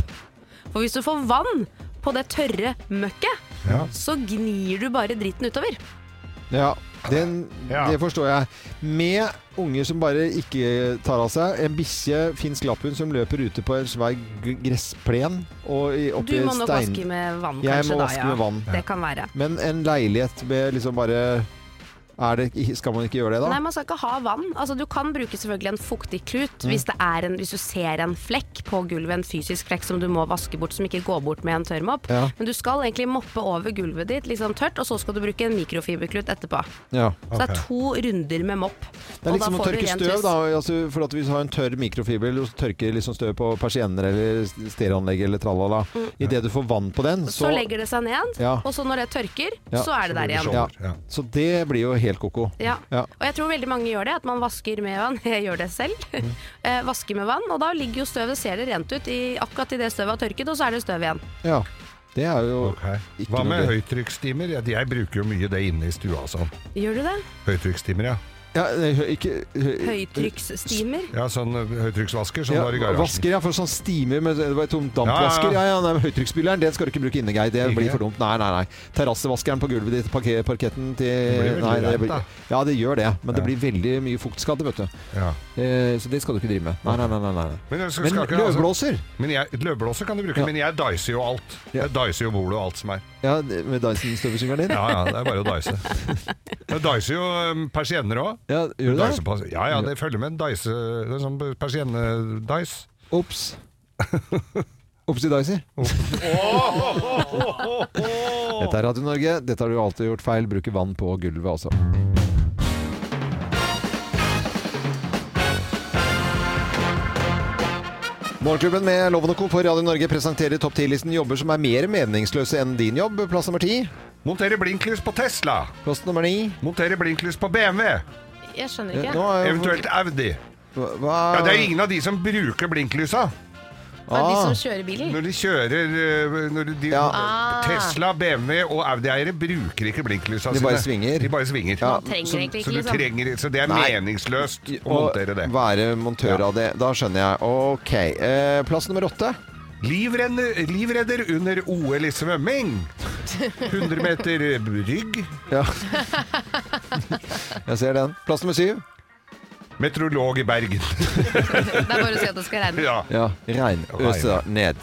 For hvis du får vann på det tørre møkket, Ja. så gnir du bare dritten utover. Ja, den, det forstår jeg. Med unger som bare ikke tar av seg. En bikkje, finsk lapphund, som løper ute på en svær g- gressplen. Og i- Du oppi må nok stein- vaske med vann, Jeg kanskje. må da, vaske ja. med vann. Det kan være. Men en leilighet med liksom bare er det, Skal man ikke gjøre det, da? Nei, man skal ikke ha vann. Altså, du kan bruke selvfølgelig en fuktig klut Mm. hvis, det er en, hvis du ser en flekk på gulvet, en fysisk flekk som du må vaske bort, som ikke går bort med en tørrmopp. Ja. Men du skal egentlig moppe over gulvet ditt liksom tørt, og så skal du bruke en mikrofiberklut etterpå. Ja. Så det er to runder med mopp. Det er og liksom da å får du tørke rent støv, hus. da. Altså, for at hvis du har en tørr mikrofiber og tørker liksom støv på persienner eller stereoanlegg eller tralala, Mm. idet du får vann på den, Så, så legger det seg ned, Ja. og så når det tørker, Ja. så er det der igjen. Ja. Så det blir jo helt ko-ko. Ja. Ja. Og jeg tror veldig mange gjør det, at man vasker med vann. Jeg gjør det selv. Mm. Eh, vasker med vann, og da ligger jo støvet, ser det rent ut i, akkurat idet støvet har tørket, og så er det støv igjen. Ja. Det er jo ikke Hva noe med gøy. høytrykksstimer? Jeg, jeg bruker jo mye det inne i stua, altså. Gjør du det? Høytrykksstimer, ja. Ja, ikke Høytrykksstimer? Ja, sånn eh, høytrykksvasker som Ja, var i garasjen. Vasker, ja, for sånn stimer med det var et tomt dampvasker. Ja, Ja, ja, ja, nei, men Høytrykksspyleren, den skal du ikke bruke inne, Geir. Det Ikke? blir for dumt. Nei, nei, nei. Terrassevaskeren på gulvet ditt, parke- parketten til Det blir veldig Nei, det rent, blir... da. Ja, det gjør det, men det blir veldig mye fuktskade, vet du. Eh, så det skal du ikke drive med. Nei, nei, nei. nei, nei. Men, jeg skal- Men skal ikke- løvblåser? Altså, men jeg, løvblåser kan du bruke, Ja. men jeg dicer jo alt. Jeg dicer jo bordet og alt som er. Ja, det- med Dyson-støvsugeren din? Ja, ja, det er bare å dice. Jeg dicer jo eh, persienner òg. Ja, gjør du det? Ja, ja, det følger med en dice, det er sånn persienne-dice. Ops. Opsi-daisy. Dette er Radio Norge. Dette har du alltid gjort feil. Bruker vann på gulvet også. Morgenklubben med Loven og Co. på Radio Norge presenterer topp 10-listen jobber som er mer meningsløse enn din jobb. Plass nummer ti. Montere blinklys på Tesla. Plass nummer ni. Montere blinklys på BMW. Jeg skjønner ikke. Eventuelt Audi. Hva? Ja, det er ingen av de som bruker Hva blinklysa. er de Ah. Ah. som kjører bilen? Når de kjører eh, når de, Ah. Tesla, BMW og Audi-eiere bruker ikke blinklysa De bare svinger. De bare svinger. Ja. trenger så, egentlig ikke, så, du liksom. trenger, så det er Nei. meningsløst å Og montere det. være montør av det. Da skjønner jeg. Ok. Eh, plass nummer åtte. Livrenner, livredder under OL i svømming. 100 meter rygg. Ja. Jeg ser den. Plass nummer syv. Meteorolog i Bergen. Det er bare å si at det skal regne. ja. Ja, regn Mm. øser ned.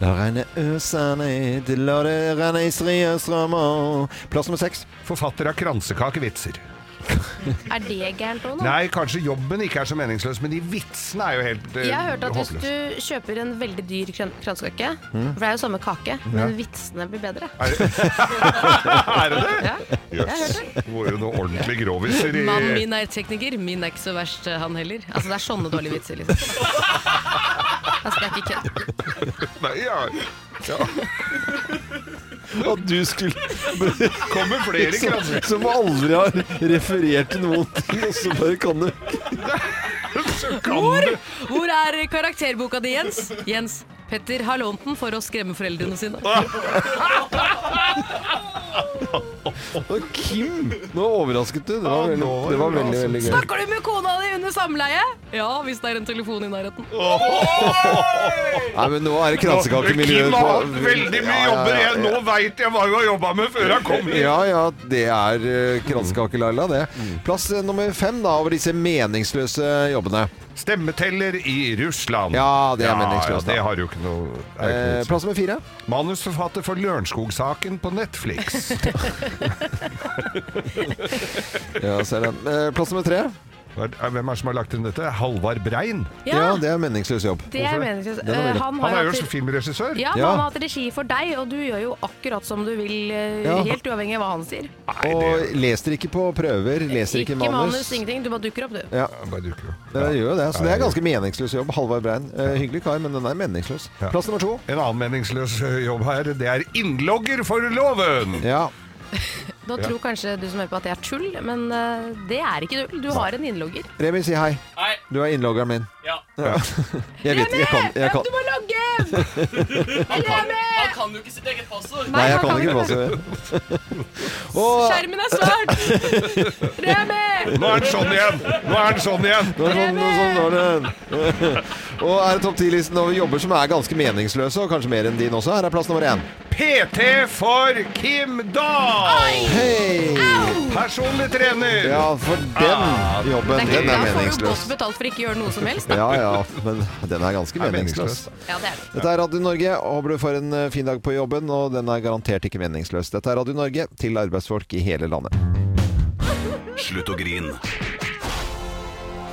Da regner øser ned, la det renne i strie strømmer. Plass nummer seks. Forfatter av kransekakevitser. Er det gærent òg nå? Nei, kanskje jobben ikke er så meningsløs, men de vitsene er jo helt eh, Jeg har hørt at hvis håpløse. du kjøper en veldig dyr kran- kransekake, for det er jo samme kake, Mm. Ja. men vitsene blir bedre. Er det er det? det? Ja. Jøss. Det var jo noe ordentlig groviser i Mannen min er tekniker, min er ikke så verst, han heller. Altså, det er sånne dårlige vitser, liksom. Jeg skal ikke kødde. Nei, ja. ja. At du skulle Kommer flere som, kranser. som aldri har referert til noen ting, og så bare kan du Så kan det. Hvor er karakterboka di, Jens? Jens, Petter har lånt den for å skremme foreldrene sine. Og Kim! Nå overrasket du. Det var Ja, veldig, nå det var var det bra, veldig, veldig gøy. Snakker du med kona di under samleie? Ja, hvis det er en telefon i nærheten. Nei, men nå er det kransekakemiljøet Kim har hatt på- veldig mye Ja, ja, jobber ja, igjen. Nå veit jeg hva hun har jobba med før han kom hit. Ja, ja, det er eh, kransekake-Laila, det. Mm. Plass eh, nummer fem da, over disse meningsløse jobbene. Stemmeteller i Russland. Ja, det er meningsløst, da. Ja, det har jo ikke noe, er jo Eh, ikke noe plass nummer fire. Manusforfatter for Lørenskog-saken på Netflix. Ja, ser den. Eh, plass nummer tre. Hva er- Hvem er det som har lagt inn dette? Halvard Brein? Ja, Ja, det er meningsløs jobb. det er hvorfor det? meningsløst. Den er Eh, veldig- Han Han har er jo jo hatt filmregissør. ja, Ja. han har hatt regi for deg, og du gjør jo akkurat som du vil, eh, Ja. helt uavhengig av hva han sier. Nei, Og det leser ikke på prøver, leser ikke, Ikke manus, ingenting. Du bare dukker opp, du. Ja, bare dukker opp. det gjør jo det. Så Ja, det er det ganske meningsløs jobb. Halvard Brein. Eh, hyggelig kar, men den er meningsløs. Ja. Plass nummer to. En annen meningsløs eh, jobb her, det er innlogger for loven! Ja. Nå tror kanskje du som hører på at det er tull, men eh, det er ikke tull. Du har en innlogger. Remi, si hei. Hei. Du er innloggeren min. Ja. Jeg vet jeg kan, jeg kan. Du må logge! Han kan jo ikke sitt eget passord. Nei, jeg han kan ikke passe Og Skjermen er svart! Remi! Nå er den sånn igjen! Nå er den sånn igjen! Nå er det sånn, sånn var det. Og er det topp 10-listen over jobber som er ganske meningsløse, og kanskje mer enn din også. Her er plass nummer én. PT for Kim Dahl! Hei! Personlig trener! Ja, for den jobben, den Da er får du meningsløs. godt betalt for ikke å gjøre noe som helst. da. Ja, ja, men den er ganske Er meningsløs. meningsløs. Ja, det er det. Dette er Radio Norge. Håper du får en eh, fin dag på jobben, og den er garantert ikke meningsløs. Dette er Radio Norge til arbeidsfolk i hele landet. Slutt å grin.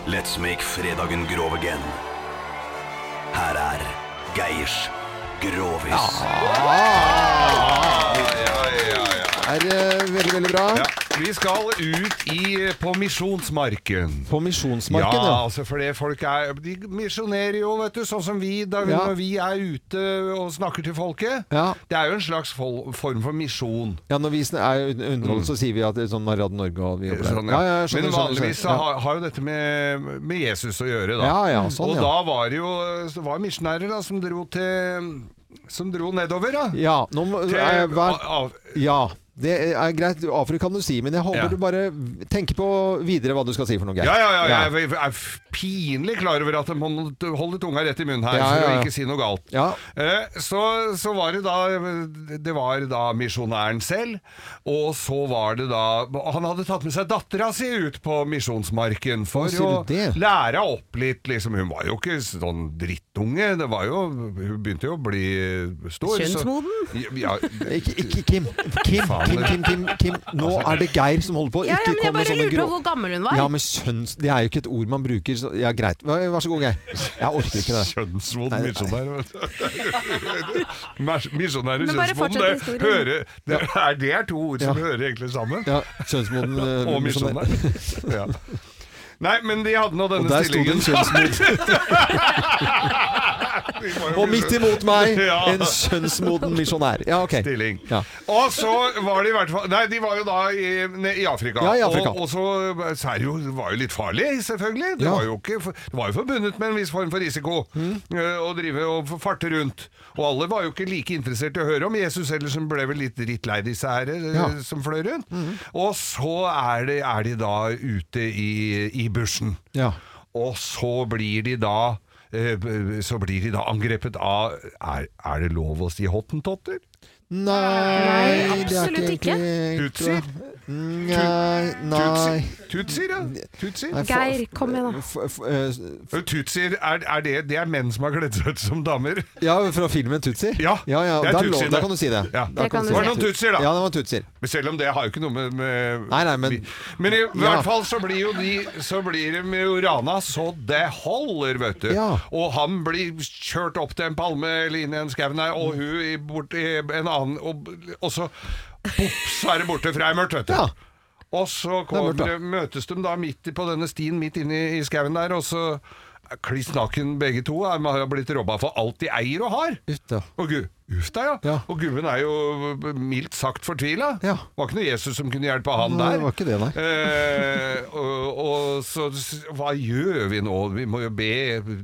Let's make fredagen grov again. Her er Geirs Grovis. Ja, ja, ja. Er eh, veldig, veldig bra. Ja, vi skal ut i, eh, på misjonsmarken. På Misjonsmarken, ja. altså for det folk er De misjonerer jo, vet du, sånn som vi da vi, Ja. når vi er ute og snakker til folket. Ja. Det er jo en slags fol form for misjon. Ja, når vi sn- er un- underholdt, så sier vi at det er sånn er Radio Norge og vi jobber der. Mm. Sånn, Ja, ja. ja, jeg skjønner, Men skjønner, vanligvis så skjønner. har, har jo dette med, med Jesus å gjøre, da. Ja, ja, sånn, og ja. da var det jo så var det misjonærer da, som dro til Som dro nedover, da. Ja, nå må, Til, eh, hver, av, av, ja, det er greit. Afrika kan du si, men jeg håper Ja. du bare tenker på videre hva du skal si for noe. Geir. Ja, ja, ja, jeg er- er pinlig klar over at jeg må holde tunga rett i munnen Ja, her ja, for ja. å ikke si noe galt. Ja. Eh, Så, så var det da Det var da misjonæren selv, og så var det da Han hadde tatt med seg dattera si ut på misjonsmarken for Å, sier å du det? lære henne opp litt, liksom. Hun var jo ikke sånn drittunge, det var jo Hun begynte jo å bli stor. så- Kjønnsmoden? Ja, Ikke, ikke Kim. Kim, Faen, Altså, Kim, Kim, Kim, Kim, nå er det Geir som holder på. Ja, ja, Ikke men jeg kom med bare sånne lurte på grå- hvor gammel hun var. Ja, men kjønns... Det er jo ikke et ord man bruker. Så... Ja, greit. Vær vær så god, Geir. Jeg orker ikke det. Kjønnsvond misjonær, vet du. Mer- Misjonær og Men bare kjønnsvond, fortsett det, historien. hører, det, er, det er to ord som hører egentlig sammen. Ja, kjønnsmoden eh, og misjonær. misjonær. Ja. Nei, men de hadde nå denne der sto det en stillingen. Og midt imot meg, Ja. en kjønnsmoden misjonær. Ja, ok. Stilling. Ja. Og så var de i hvert fall Nei, de var jo da i, ne, i Afrika. Ja, i Afrika. Og, og så så er det jo, det var jo litt farlig, selvfølgelig. Det, Ja. Mm. var jo ikke, for- det var jo forbundet med en viss form for risiko eh, å drive og farte rundt. Og alle var jo ikke like interessert i å høre om Jesus, ellers som ble vel litt drittlei disse her eh, Ja. som fløy rundt. Mm. Og så er de, er de da ute i, i bushen. Ja. Og så blir de da eh, b- så blir de da angrepet av Er, er det lov å si hottentotter? Nei, absolutt ikke. Tutsier? Nei, nei. Tutsier, ja. Tutsier. Nei, fa- Geir, kom igjen da. Eh, Tutsier, er, er det, det er menn som har kledd seg ut som damer? Ja, fra filmen Tutsi? Ja, ja, det er der, lå, tutsier, der det. kan du si det. Ja. Der kan Det var noen tutsier, da. Ja, det var tutsier. Men Selv om det har jo ikke noe med, med Nei, nei, men Men i Ja. hvert fall så blir jo de Så blir de jo rana så det holder, vet du. Ja. Og han blir kjørt opp til en palme eller inn i en skau, nei, og hun i- bort i en annen Og, og så bopp, så er det borte, for det er mørkt, vet du. Og så kommer, Det er mørkt, ja. møtes de da midt i- på denne stien midt inne i, i skauen der, og så er Kliss naken begge to. De har blitt robba for alt de eier og har. Og gu, uff da, ja. Og gubben er jo eh, mildt sagt fortvila. Var ikke noe Jesus som kunne hjelpe han Nei, der. det var ikke det, nei. Eh, og, og så s- Hva gjør vi nå? Vi må jo be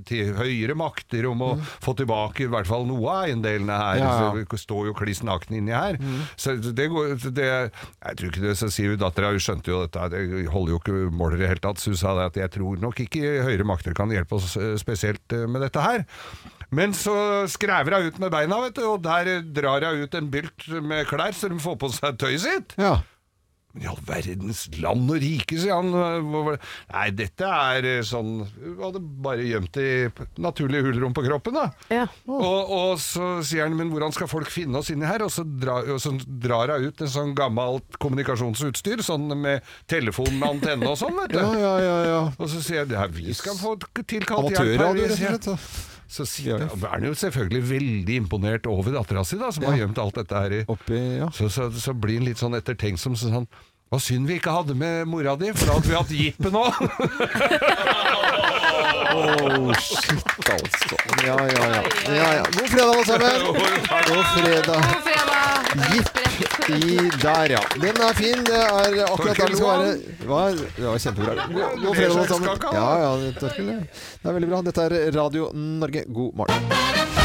til høyere makter om å få tilbake i hvert fall noe av eiendelene her. Mm. Ja, Mm. ja. Så vi står jo kliss nakne inni her. Så det går det, Jeg tror ikke det, så sier jo dattera Hun skjønte jo dette, her, det holder jo ikke måler i det hele tatt. Så hun sa det at jeg tror nok ikke høyere makter kan hjelpe oss eh, spesielt eh, med dette her. Men så skrever hun ut med beina, vet du, og der eh, drar hun ut en bylt med klær, så de får på seg tøyet sitt. Ja. Men i all verdens land og rike, sier han. Hva var det? Nei, dette er eh, sånn Hun hadde bare gjemt det i p- naturlige hulrom på kroppen, da. Og, og så sier han, men hvordan skal folk finne oss inni her? Og så, dra, og så drar hun ut en sånn gammelt kommunikasjonsutstyr, sånn med telefon med antenne og sånn, vet du. Ja, ja, ja, ja. Og så sier jeg, ja, vi skal få t- tilkalt hjelp her, Amatørradio, vi rett og sier- slett. da. Så sier, ja, er han jo selvfølgelig veldig imponert over dattera si, da, som har gjemt alt dette her i. Så, så, så blir han litt sånn ettertenksom, så sånn Hva synd vi ikke hadde med mora di, for da hadde vi hatt jippe nå! Oh, shit, altså. Ja, ja, ja. ja, ja. God fredag, alle sammen. God fredag. Gitt i der, ja. Den er fin. Det er akkurat der den skal være. Hva? Det var kjempebra. God, god fredag, alle sammen. Ja, ja, det, det er veldig bra. Dette er Radio Norge. God morgen.